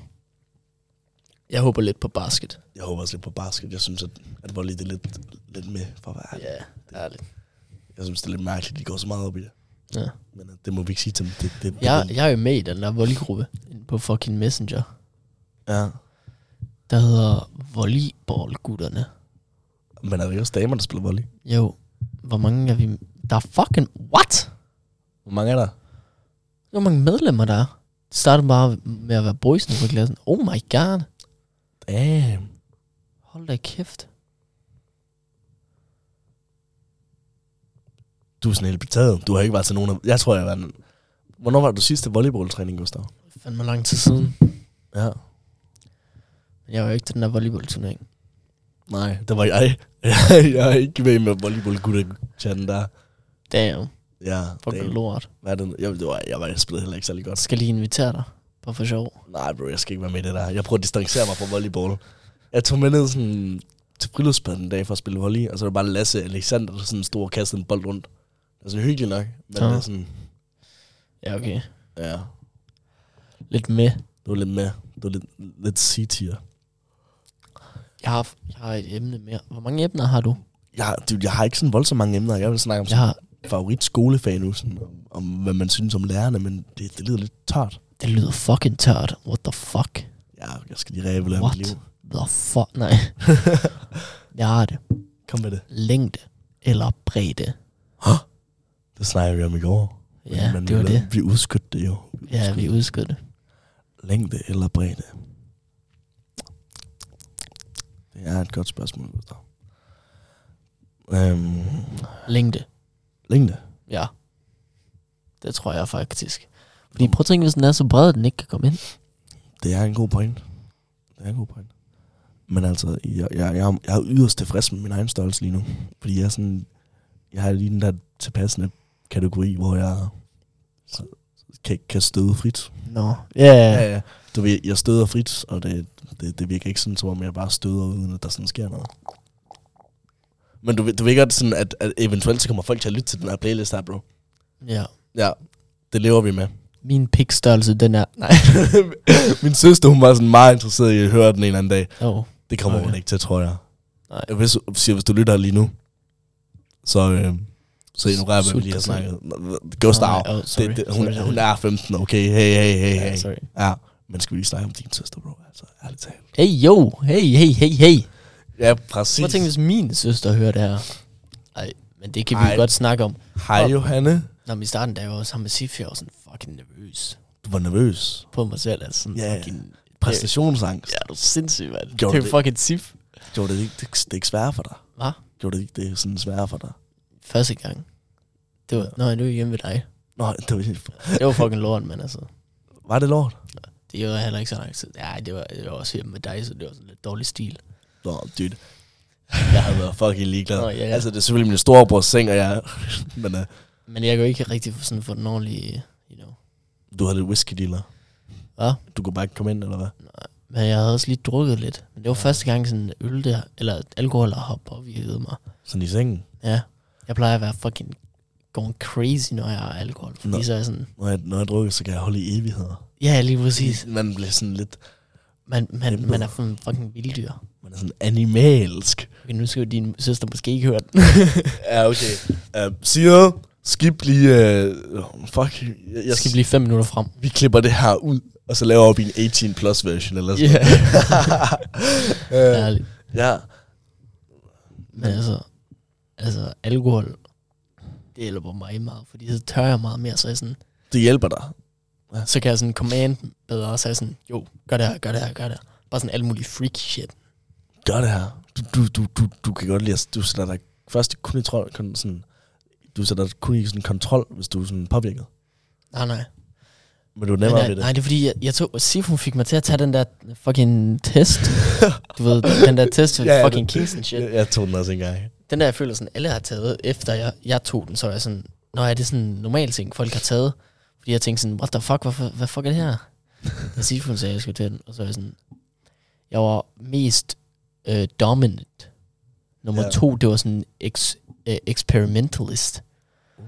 S1: Jeg håber lidt på basket.
S2: Jeg håber også lidt på basket. Jeg synes, at, at volley det er lidt, lidt med for at være ærlig.
S1: Ja, ærligt.
S2: Jeg synes, det er lidt mærkeligt, de går så meget op i det.
S1: Ja.
S2: Men øh, det må vi ikke sige til dem. Det, det, det,
S1: Jeg, jeg er jo med i den der volleygruppe inde på fucking Messenger,
S2: Ja.
S1: der hedder Volleyballgutterne.
S2: Men er det ikke også damer, der spiller volley?
S1: Jo, hvor mange er vi... Der er fucking... What?
S2: Hvor mange er der?
S1: Hvor mange medlemmer der er? Det startede bare med at være boysene på klassen. Oh my god.
S2: Damn.
S1: Hold da kæft.
S2: Du er sådan helt betaget. Du har ikke været til nogen af... Jeg tror, jeg var den... Hvornår var du sidste volleyballtræning, Gustav?
S1: Fandme lang tid siden.
S2: Ja.
S1: Men jeg var jo ikke til den der volleyballturnering.
S2: Nej, det var jeg. jeg er ikke med med volleyballgutter-chatten der.
S1: Damn.
S2: Ja,
S1: Fuck
S2: damn.
S1: lort.
S2: Hvad er det? Jeg, det var, jeg, var, jeg spillede heller ikke særlig godt.
S1: Skal lige invitere dig. Bare for sjov.
S2: Nej, bro, jeg skal ikke være med i det der. Jeg prøver at distancere mig fra volleyball. Jeg tog med ned sådan, til friluftsbaden en dag for at spille volley, og så var det bare Lasse Alexander, der sådan stod og kastede en bold rundt. Det er sådan hyggeligt nok, men
S1: Ja.
S2: det er sådan,
S1: Ja, okay.
S2: ja,
S1: Lidt med.
S2: det var lidt med. Det var lidt, lidt C-tier.
S1: Jeg har, jeg har et emne mere. Hvor mange emner har du?
S2: Jeg, har- dude, jeg har ikke sådan voldsomt mange emner. Jeg vil snakke om
S1: Jeg
S2: ja.
S1: har,
S2: favorit skolefag nu, sådan, om, om, hvad man synes om lærerne, men det, det lyder lidt tørt.
S1: det lyder fucking tørt. What the fuck?
S2: Ja, jeg skal lige ræbe
S1: What?
S2: mit liv.
S1: The fuck? Nej. jeg har det.
S2: Kom med det.
S1: Længde eller bredde.
S2: Det snakker vi om i går.
S1: Ja,
S2: men
S1: det var
S2: vi,
S1: det.
S2: Vi udskødte det jo.
S1: Ja, vi udskød det.
S2: Længde eller bredde? Det er et godt spørgsmål, Gustav. Øhm,
S1: Længde.
S2: længde?
S1: Ja. Det tror jeg faktisk. Fordi prøv at tænke, hvis den er så bred, at den ikke kan komme ind.
S2: Det er en god point. Det er en god point. Men altså, jeg, jeg, jeg, er- jeg er yderst tilfreds med min egen størrelse lige nu. Fordi jeg er sådan... Jeg har lige den der tilpassende kategori, hvor jeg så, kan, kan støde frit.
S1: Nå. No. Ja.
S2: ja. Du ved, jeg støder frit, og det, det, det virker ikke sådan, som om jeg bare støder, uden at der sådan sker noget. Men du, ved- du ved godt sådan, at, at eventuelt så kommer folk til at lytte til den her playlist her, bro.
S1: Ja.
S2: Ja, det lever vi med.
S1: Min pikstørrelse, den er... Nej.
S2: Min søster, hun var sådan meget interesseret i at høre den en eller anden dag.
S1: Oh.
S2: Det kommer okay. hun
S1: Okay.
S2: ikke til, tror jeg.
S1: Nej.
S2: Jeg vil så- siger, hvis du lytter lige nu, så, øh, så ignorerer jeg, hvad vi
S1: Sut
S2: lige har
S1: dig selv.
S2: snakket. Gustav,
S1: Nej, oh, sorry.
S2: det, det,
S1: Sorry,
S2: hun,
S1: sorry.
S2: hun er 15, okay? Hey, hey, hey,
S1: Ja,
S2: hey.
S1: sorry.
S2: Ja, altså. men skal vi lige snakke om din søster, bro? Altså, ærligt talt.
S1: Hey, yo. Hey, hey, hey, hey.
S2: Ja, præcis.
S1: Prøv at tænke, hvis min søster hører det her. Ej, men det kan vi
S2: Ej.
S1: jo godt snakke om.
S2: Hej Johanne.
S1: Når vi starten, der var jeg sammen med Sifi, jeg var sådan fucking nervøs
S2: Du var nervøs.
S1: på mig selv. Altså sådan
S2: Ja, ja.
S1: fucking...
S2: Præstationsangst.
S1: Ja, du er sindssyg, mand.
S2: Gjorde
S1: Det er
S2: det?
S1: fucking Sif.
S2: Gjorde det ikke, det, det er ikke sværere for dig?
S1: Hvad?
S2: Gjorde det ikke, det er sådan sværere for dig?
S1: Første gang. Det var, når jeg nu er hjemme ved dig.
S2: Nå, det var, helt-
S1: Det var fucking lort, men altså.
S2: var det lort?
S1: Det var heller ikke så lang tid. Nej, det var, det var også hjemme med dig, så det var sådan lidt dårlig stil.
S2: Nå, dude. Jeg havde været fucking ligeglad.
S1: Nå, ja, ja.
S2: Altså, det er selvfølgelig min storebrors seng, og jeg... Men uh,
S1: Men jeg kan jo ikke rigtig få, sådan, få den ordentlige, you know.
S2: du havde lidt whisky dealer.
S1: Hvad?
S2: Du kunne bare ikke komme ind, eller hvad?
S1: Men jeg havde også lige drukket lidt. Men det var første gang sådan øl der, eller alkohol der har påvirket mig.
S2: Sådan i sengen.
S1: Ja. Jeg plejer at være fucking going crazy, når jeg har alkohol. Fordi
S2: Nå.
S1: så er jeg sådan,
S2: Når jeg, når jeg drukker, så kan jeg holde i evigheder.
S1: ja, lige præcis.
S2: Man bliver sådan lidt...
S1: Man, man,
S2: Helvede.
S1: man er sådan fucking vilddyr.
S2: Man er sådan animalsk.
S1: Okay, nu skal jo din søster måske ikke høre den.
S2: Ja, okay. Uh, Sire, skip lige... Uh, fuck. Jeg,
S1: Jeg skal blive fem minutter frem.
S2: vi klipper det her ud, og så laver vi en 18 plus version eller sådan
S1: Yeah.
S2: yeah.
S1: Ærligt.
S2: ja.
S1: Men altså, altså, alkohol, det hjælper mig meget, fordi så tør jeg meget mere, så, jeg sådan,
S2: Det hjælper dig.
S1: så kan jeg sådan command bedre, så jeg sådan, jo, gør det her, gør det her, gør det her. Bare sådan alt muligt freak shit.
S2: Gør det her. Du, du, du, du, du kan godt lide, at du sætter dig først kun i trol, kun sådan, du sætter dig kun i sådan kontrol, hvis du er sådan påvirket.
S1: Nej, nej.
S2: Men du er
S1: Men
S2: nemmere
S1: nej,
S2: ved det.
S1: nej, det er fordi, jeg, jeg tog, Sif, hun fik mig til at tage den der fucking test. du ved, den der test for
S2: Ja, ja,
S1: fucking
S2: det-
S1: Kings and shit.
S2: Jeg, jeg tog den også engang.
S1: Den der, jeg føler sådan, alle har taget, efter jeg, jeg tog den, så er jeg sådan, nå, er det sådan en normal ting, folk har taget? Fordi jeg tænkte sådan, what the fuck, hvad, hvad fuck er det her? Jeg siger, hun sagde, jeg skulle til den, og så er jeg sådan, jeg var mest øh, dominant. Nummer
S2: Ja.
S1: ja. to, det var sådan ex, øh, experimentalist.
S2: Uh.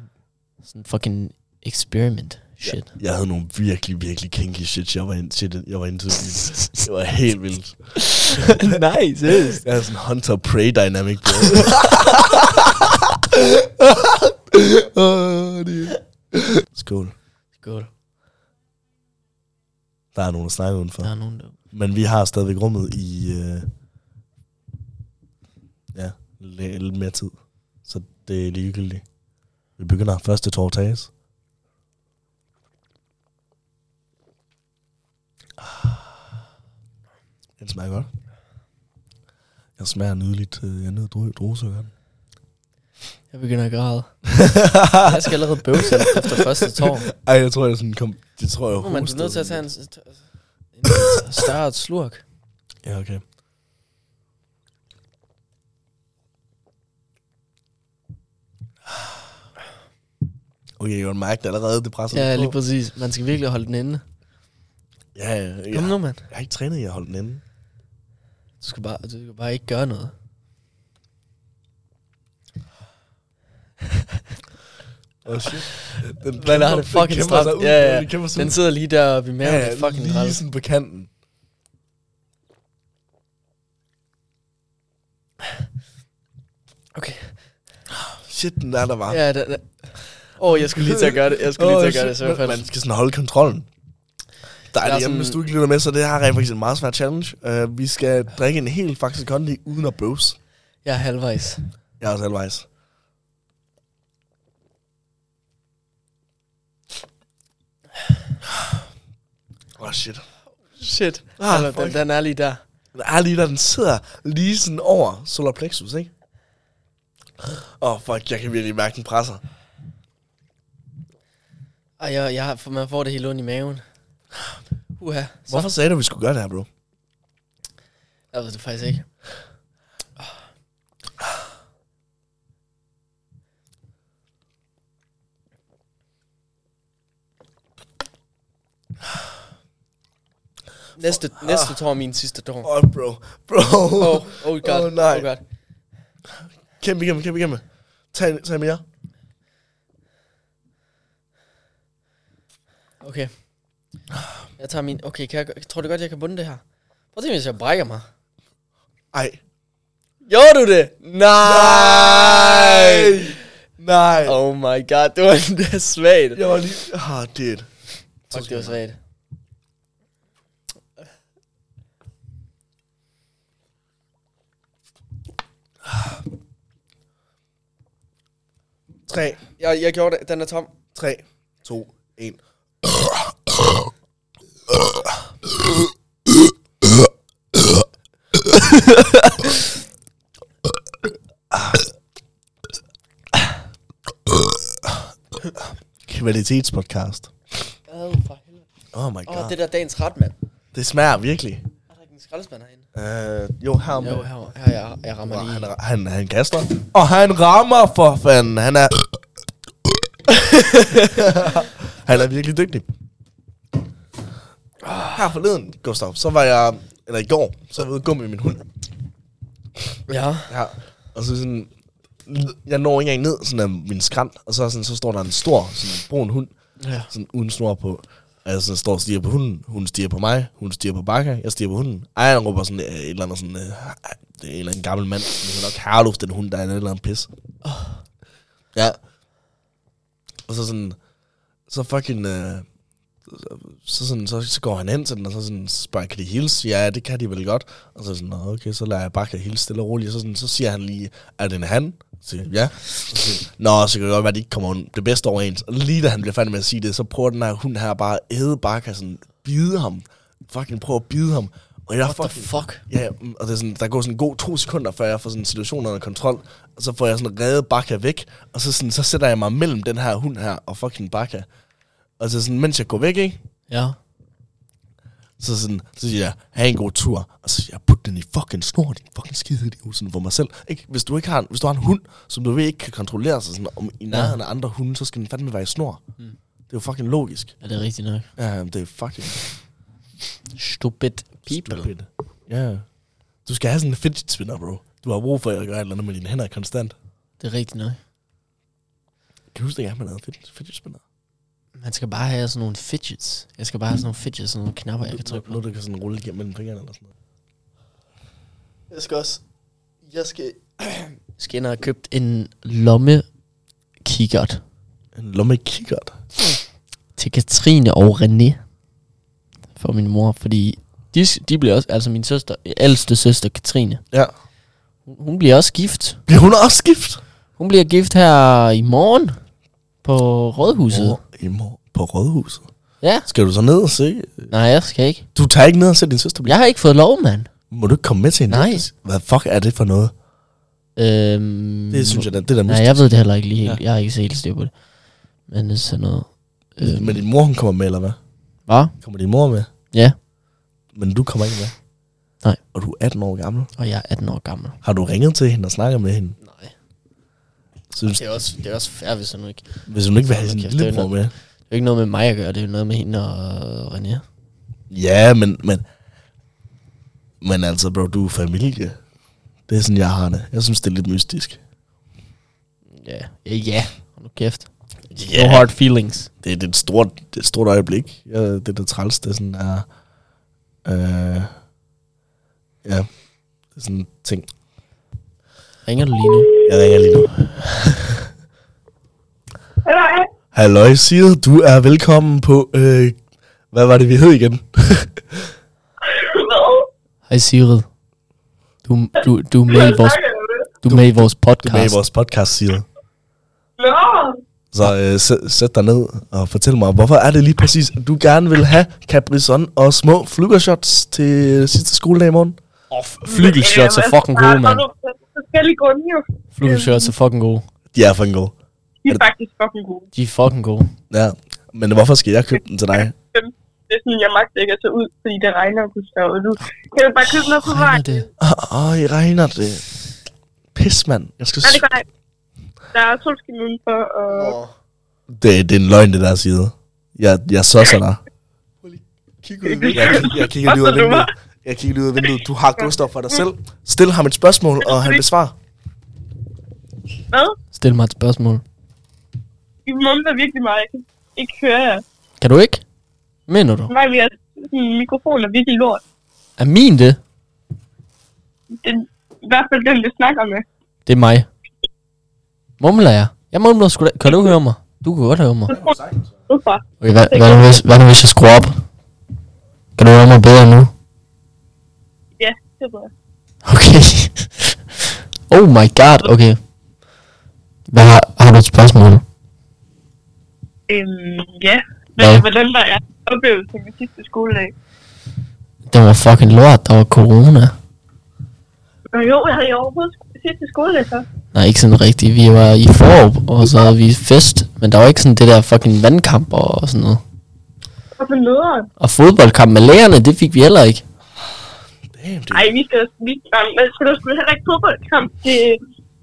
S1: Sådan fucking experiment shit.
S2: Jeg, jeg havde nogle virkelig, virkelig kinky shit, jeg var, ind, shit, jeg var into. det var helt vildt.
S1: Nej, seriøst.
S2: Jeg havde sådan hunter-prey dynamic, bro. Åh, det- Skål.
S1: Skål.
S2: Der er nogen, der snakker udenfor.
S1: Der er nogen, der...
S2: Men vi har stadigvæk rummet i... Øh, ja, lidt, lidt mere tid. Så det er ligegyldigt. Vi begynder første torsdags. Ah. Den smager godt. Den smager nydeligt. Øh, Jeg nød dru- druesukkeren.
S1: Jeg begynder at græde. Jeg skal allerede bøvse efter første tår.
S2: Ej, jeg tror, jeg sådan kom... Det tror jeg,
S1: Nu er
S2: jeg
S1: man
S2: hostede
S1: nødt til at
S2: den.
S1: tage en, en større slurk.
S2: Ja, okay. Okay, jeg kan mærke det allerede, det presser
S1: Ja,
S2: lidt
S1: lige
S2: på.
S1: præcis. Man skal virkelig holde den inde.
S2: Ja, ja, ja.
S1: Kom nu, mand.
S2: Jeg har ikke trænet, jeg har holdt den inde.
S1: Du skal bare, du skal bare ikke gøre noget.
S2: Oh shit. Den
S1: Man har det fucking stramt. Ja, ja. Den sidder lige der oppe i maven.
S2: ja,
S1: Ja, fucking
S2: lige
S1: lige.
S2: sådan på kanten. Shit, den er der var.
S1: Ja, da, da. Åh, jeg skulle lige til at gøre det. Jeg skulle lige til at gøre det, så i hvert
S2: man,
S1: fald.
S2: man skal sådan holde kontrollen. Der
S1: Der
S2: er
S1: er
S2: det, jamen,
S1: sådan-
S2: hvis du ikke lytter med, så det her er rent faktisk en meget svær challenge. Uh, vi skal drikke en helt faktisk kondi uden at bøvse.
S1: Jeg er halvvejs.
S2: Jeg er også halvvejs. Åh, oh, shit.
S1: Shit.
S2: Ah,
S1: Ah, den,
S2: fuck.
S1: den er lige der.
S2: Den er lige der, den sidder lige sådan over solar plexus, ikke? Åh, oh, fuck, jeg kan virkelig mærke, den presser.
S1: Ej, jeg, jeg, har- man får det helt ondt i maven. Uha. Så,
S2: Hvorfor sagde du, at vi skulle gøre det her, bro?
S1: Jeg ved det faktisk ikke. Næste, næste tår er min sidste tår.
S2: Åh, oh, bro. Bro.
S1: Oh, oh god.
S2: Åh, nej.
S1: Oh god.
S2: Kæmpe, kæmpe, kæmpe, kæmpe. Tag, en- tag mere.
S1: Okay. Jeg tager min... Okay, kan jeg, gø- tror du godt, jeg kan bunde det her? Prøv at se, hvis jeg brækker mig.
S2: Ej.
S1: Gjorde du det? Nej!
S2: Nej.
S1: Oh my god, det var det er svagt.
S2: Jeg var lige... Ah, oh, det
S1: Fuck, det var svagt.
S2: Tre,
S1: Jeg, jeg gjorde det. Den er tom.
S2: tre, to, en. Kvalitetspodcast.
S1: Åh, for helvede.
S2: Oh my god.
S1: Åh, oh, det
S2: det,
S1: der er dagens ret, mand.
S2: det smager virkelig.
S1: Er der ikke en skraldespand herinde?
S2: Uh, jo, her med.
S1: Jo, her, her jeg, jeg rammer
S2: Og
S1: lige.
S2: han, ra- han, han kaster. Og han rammer for fanden. Han er... han er virkelig dygtig. Her forleden, Gustav, så var jeg... Eller i går, så var jeg ude at gå med min hund.
S1: Ja.
S2: Ja. Og så sådan... Jeg når ikke engang ned sådan af min skrant, og så, er sådan, så står der en stor, sådan en brun hund,
S1: Ja.
S2: sådan uden snor på. Altså, jeg står og stiger på hunden, hun stiger på mig, hun stiger på Bakka, jeg stiger på hunden. Ej, han råber sådan øh, et eller andet sådan, øh, det er en eller anden gammel mand, det er nok Herluf, den hund, der er en eller anden pis. Ja. Og så sådan, så fucking, øh, så, sådan, så, så går han hen til den, og så sådan spørger, han, kan de hilse? Ja, det kan de vel godt. Og så sådan, "Nå, okay, så lader jeg Bakka hilse stille og roligt. Og så, sådan, så siger han lige, er det en han? Så siger jeg, ja. Så siger, han, Nå, så kan det godt være, at de ikke kommer det bedste overens. Og lige da han bliver færdig med at sige det, så prøver den her hund her bare at æde Bakka, sådan bide ham. Fucking prøver at bide ham. Og jeg
S1: What the
S2: fucking,
S1: fuck?
S2: Ja, mm, og det er sådan, der går sådan en god to sekunder, før jeg får sådan situationen under kontrol, og så får jeg sådan reddet Bakka væk, og så, sådan, så sætter jeg mig mellem den her hund her og fucking Bakka. Og så sådan, mens jeg går væk, ikke?
S1: Ja.
S2: Så, sådan, så siger jeg, have en god tur. Og så siger jeg, put den i fucking snor, din fucking skide idiot, sådan for mig selv. Ikke? Hvis, du ikke har en, hvis du har en hund, som du ved ikke kan kontrollere sig sådan, om i nærheden af andre hunde, så skal den fandme være i snor. Mm. Det er jo fucking logisk.
S1: Er det rigtigt nok?
S2: Ja, det er fucking
S1: Stupid people.
S2: stupid. Ja. Du skal have sådan en fidget spinner, bro. Du har brug for at gøre et eller andet med dine hænder konstant.
S1: Det er rigtigt nok.
S2: Kan du huske, at jeg man havde fidget, fidget spinner?
S1: Man skal bare have sådan nogle fidgets. Jeg skal bare have sådan nogle fidgets, sådan nogle knapper, jeg kan trykke på.
S2: Noget, der kan sådan rulle igennem mellem fingrene eller sådan noget.
S1: Jeg skal også... Jeg skal... Jeg skal ind og have købt en lomme kikkert
S2: En lomme kikkert.
S1: til Katrine og René for min mor, fordi de, de bliver også, altså min søster, ældste søster Katrine,
S2: Ja.
S1: hun, hun bliver også gift.
S2: Bliver hun også gift?
S1: Hun bliver gift her i morgen på Rådhuset.
S2: Mor, I mor på rådhuset.
S1: Ja.
S2: Skal du så ned og se?
S1: Nej, jeg skal ikke.
S2: Du tager ikke ned og se din søster blive...
S1: Jeg har ikke fået lov, mand.
S2: Må du ikke komme med til en
S1: Nej.
S2: date? Hvad fuck er det for noget?
S1: Øhm,
S2: Det synes jeg, da- det er da
S1: Nej,
S2: mystisk.
S1: jeg ved det heller ikke lige helt. Ja. Jeg har ikke set helt styr på det. Men det er sådan noget...
S2: Men din mor, hun kommer med, eller hvad?
S1: Hvad?
S2: Kommer din mor med?
S1: Ja.
S2: Men du kommer ikke med?
S1: Nej.
S2: Og du er 18 år gammel.
S1: Og jeg er 18 år gammel.
S2: Har du ringet til hende og snakket med hende?
S1: Nej.
S2: Synes,
S1: Det er også, det er også fair, hvis jeg nu ikke... Det
S2: hvis hun ikke vil have
S1: Hold
S2: sin
S1: kæft, det er
S2: lillebror med.
S1: er jo ikke noget med mig at gøre, det er jo noget med hende og øh, René.
S2: Ja, men, men, men altså, bro, du er familie. Det er sådan, jeg har det. Jeg synes, det er lidt mystisk.
S1: Ja. Ja, ja. Hold nu kæft.
S2: Ja.
S1: No hard feelings.
S2: Det, det, er et stort, det er et stort øjeblik. Ja, det er det træls, det er sådan er... Øh, ja, det er sådan en ting.
S1: Ringer du lige nu?
S2: Jeg ringer lige nu. Halløj, Sid, du er velkommen på, øh, hvad var det, vi hed igen?
S4: Hvad?
S1: Hej Sigrid. Du, du, du, er med i vores,
S4: snakker
S1: du
S4: du med?
S1: er med i vores
S2: Du er med i
S1: podcast.
S2: vores podcast, Sid.
S4: Nå,
S2: Så øh, sæt, sæt dig ned og fortæl mig, hvorfor er det lige præcis, at du gerne vil have Capri-Sun og små flugershots til sidste skoledag i morgen?
S1: Flygelshirts er
S4: jamen,
S1: fucking gode,
S4: altså,
S1: mand.
S4: der er nogle Forskellige grunde jo.
S1: Flygelshirts er fucking gode.
S2: De er fucking gode.
S4: De er faktisk fucking gode.
S1: De er fucking gode.
S2: Ja, men hvorfor skal jeg købe den til dig?
S4: Det er sådan, jeg magter ikke at tage ud, fordi det regner og kunne ud. Du kan jo bare købe noget på
S1: Regner
S4: vejen.
S1: det?
S2: Åh, oh, I regner det. Pis, mand. Jeg skal...
S4: Nej, det
S2: s-
S4: går ikke. Der er solskin udenfor, og
S2: Det, det er en løgn, det der side. Jeg, jeg sosser dig. Kig ud jeg, kig- jeg kigger lige ud af vinduet. Jeg kigger lige ud af vinduet. Du har Gustav for dig selv. Stil ham et spørgsmål, og han besvarer.
S4: hvad?
S1: Stil mig et spørgsmål.
S4: I mumler virkelig meget. Jeg kan ikke høre jer.
S1: Kan du ikke? Mener du?
S4: Nej, vi har sådan en mikrofon, der er virkelig lort.
S1: Er min det?
S4: Den, I hvert fald den, vi snakker med.
S1: Det er mig. Mumler jeg? Jeg mumler sgu da. Kan du høre mig? Du kan godt høre mig.
S4: Hvorfor?
S1: Okay, hvad, hvad, nu hvis, hvad nu hvis jeg skruer op? Kan du høre mig bedre nu?
S4: Ja, det ved jeg.
S1: Okay. oh my god, okay. Hvad har, har du et spørgsmål?
S4: Øhm, ja. Men
S1: Hvad?
S4: hvordan var jeg oplevelse med sidste skoledag?
S1: Det var fucking lort, der var corona.
S4: Nå jo, jeg havde jo overhovedet sk- sidste skoledag så.
S1: Nej, ikke sådan rigtigt. Vi var i Forup, og så havde vi fest. Men der var ikke sådan det der fucking vandkamp og, og sådan noget.
S4: Og på nederen.
S1: Og fodboldkamp med lærerne, det fik vi heller ikke.
S2: Damn, det
S4: Ej, vi skal vi skal, men skal du sgu heller ikke fodboldkamp. Det,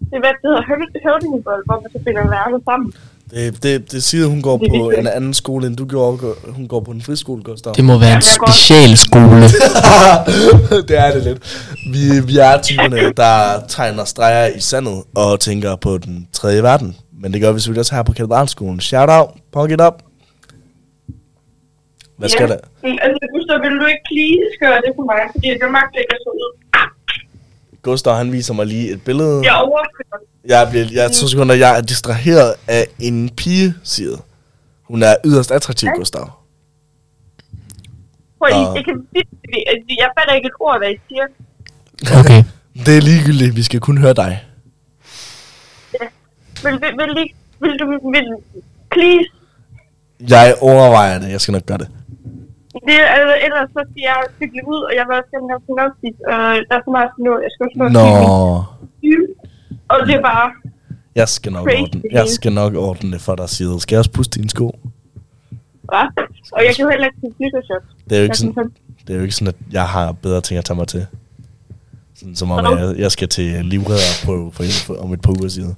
S4: det er, hvad det hedder, høvd- høvdingebold, hvor man så finder værne sammen.
S2: Det, det, det siger, hun går
S4: Det er
S2: på
S4: vigtigt.
S2: en anden skole, end du gjorde. Hun går på en friskole, Gustav.
S1: Det må være en
S4: Ja, jeg går-
S1: specialskole.
S2: det er det lidt. Vi, vi er typerne, der tegner streger i sandet og tænker på den tredje verden. Men det gør vi selvfølgelig også her på Katedralskolen. Shout out, punk it up. Hvad skal der?
S4: Mm, Altså, Gustav, vil du ikke lige gøre det for mig? Fordi jeg magter ikke at så ud.
S2: Gustav, han viser mig lige et billede.
S4: Jeg overfører.
S2: Jeg, bliver, jeg er to sekunder, jeg er distraheret af en pige, siger Hun er yderst attraktiv, Gustav.
S4: Prøv, I,
S2: Nå.
S4: jeg kan virkelig, altså, jeg fatter ikke et ord, hvad I siger.
S1: Okay.
S2: Det er ligegyldigt, vi skal kun høre dig.
S4: Vil, vil, vil, I- vil du, vil, please,
S2: Jeg overvejer det, jeg skal nok gøre det.
S4: det, er- altså, ellers så skal jeg cykle ud, og jeg vil også gerne have synopsis, og der er så meget at nå, jeg skal også nå at cykle.
S2: Nå.
S4: Og det er bare,
S2: Jeg skal nok
S4: Crazy.
S2: ordne, jeg skal nok ordne det for dig, Side. Skal jeg også puste dine sko?
S4: hva? Og jeg kan jo heller ikke til flyttershop.
S2: Det er jo ikke sådan, det er jo ikke sådan at jeg har bedre ting at tage mig til. Sådan, som om jeg, jeg skal til livredder på, på, på, om et par uger siden.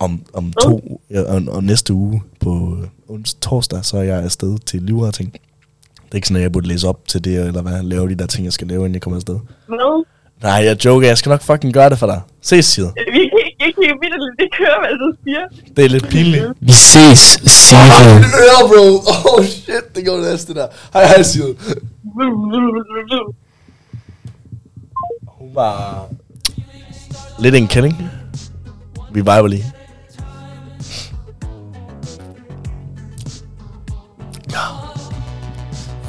S2: Om, om to, ja, og, og næste uge på ons, torsdag, så er jeg afsted til livredder ting. Det er ikke sådan, at jeg burde læse op til det, eller hvad, lave de der ting, jeg skal lave, inden jeg kommer afsted.
S4: Hvad?
S2: Nej, jeg joker, jeg skal nok fucking gøre det for dig. Ses, Side.
S4: Vi kan ikke, jeg kan ikke vide, at det kører, hvad du siger.
S2: Det er lidt pinligt.
S1: Vi ses, Sigrid.
S2: øre, bro. Oh shit, det går næste der. Hej, hej, Side. Hun var... Lidt en kælling. Vi viber lige.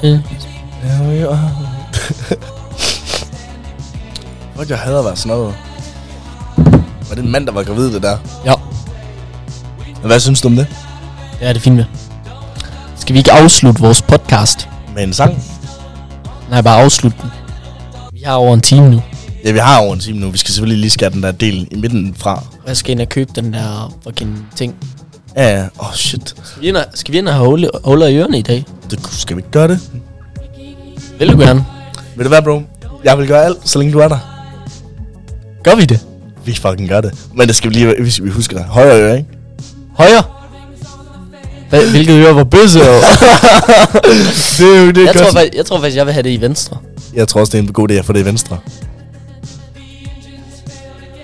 S2: Ja, vi er. Fuck, jeg hader at være snobbet. Var det en mand, der var gravid, det der?
S1: Ja,
S2: Hvad synes du om det?
S1: det er det fint med. Skal vi ikke afslutte vores podcast?
S2: Med en sang?
S1: Nej, bare afslutte den. Vi har over en time nu.
S2: Ja, vi har over en time nu. Vi skal selvfølgelig lige skære den der del i midten fra.
S1: Og jeg skal ind og købe den der fucking ting.
S2: Ja, ja. Åh, oh, shit.
S1: Skal vi ind og, skal vi ind og have huller, huller i ørerne i dag?
S2: Det, skal vi ikke gøre det?
S1: Vil du gerne?
S2: Ved du hvad, bro? Jeg vil gøre alt, så længe du er der.
S1: Gør vi det?
S2: Vi fucking gør det. Men det skal vi lige, hvis vi husker det. Højere øre, ikke?
S1: Højre! Hva, hvilket øre var bøsse?
S2: Det er jo det,
S1: jeg, tror, fakt- jeg tror faktisk, jeg vil have det i venstre.
S2: jeg tror også, det er en god idé at få det i venstre.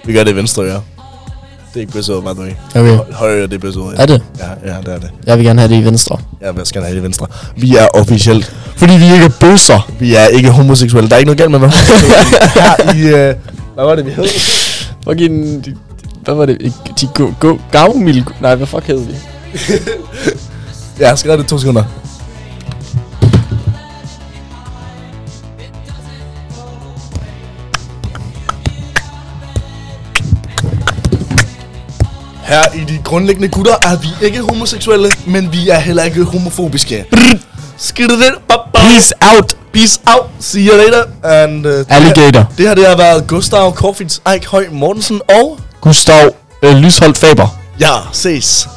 S2: Vi gør det i venstre øre. Det er ikke bøsset, by the way.
S1: Okay.
S2: Højre øre, det er bøsset. Ja.
S1: Er det?
S2: Ja, ja, det er det.
S1: Jeg vil gerne have det i venstre.
S2: Ja, hvad skal der have i venstre? Vi er officielt.
S1: Fordi vi ikke er bøsser.
S2: Vi er ikke homoseksuelle. Der er ikke noget galt med, hvad her i... Øh, hvad var det, vi hed?
S1: Fucking... Hvad var det? De gå... gå gavmild... Nej, hvad fuck hed vi?
S2: Ja, jeg skal gøre det i to sekunder. Her i de grundlæggende gutter er vi ikke homoseksuelle, men vi er heller ikke homofobiske. Skidt det, Peace out. Peace out. See you later. And, uh,
S5: Alligator.
S2: Det her, det har været Gustav Korfins Eik Høj Mortensen og
S5: Gustav øh, Lysholdt Faber.
S2: Ja, ses.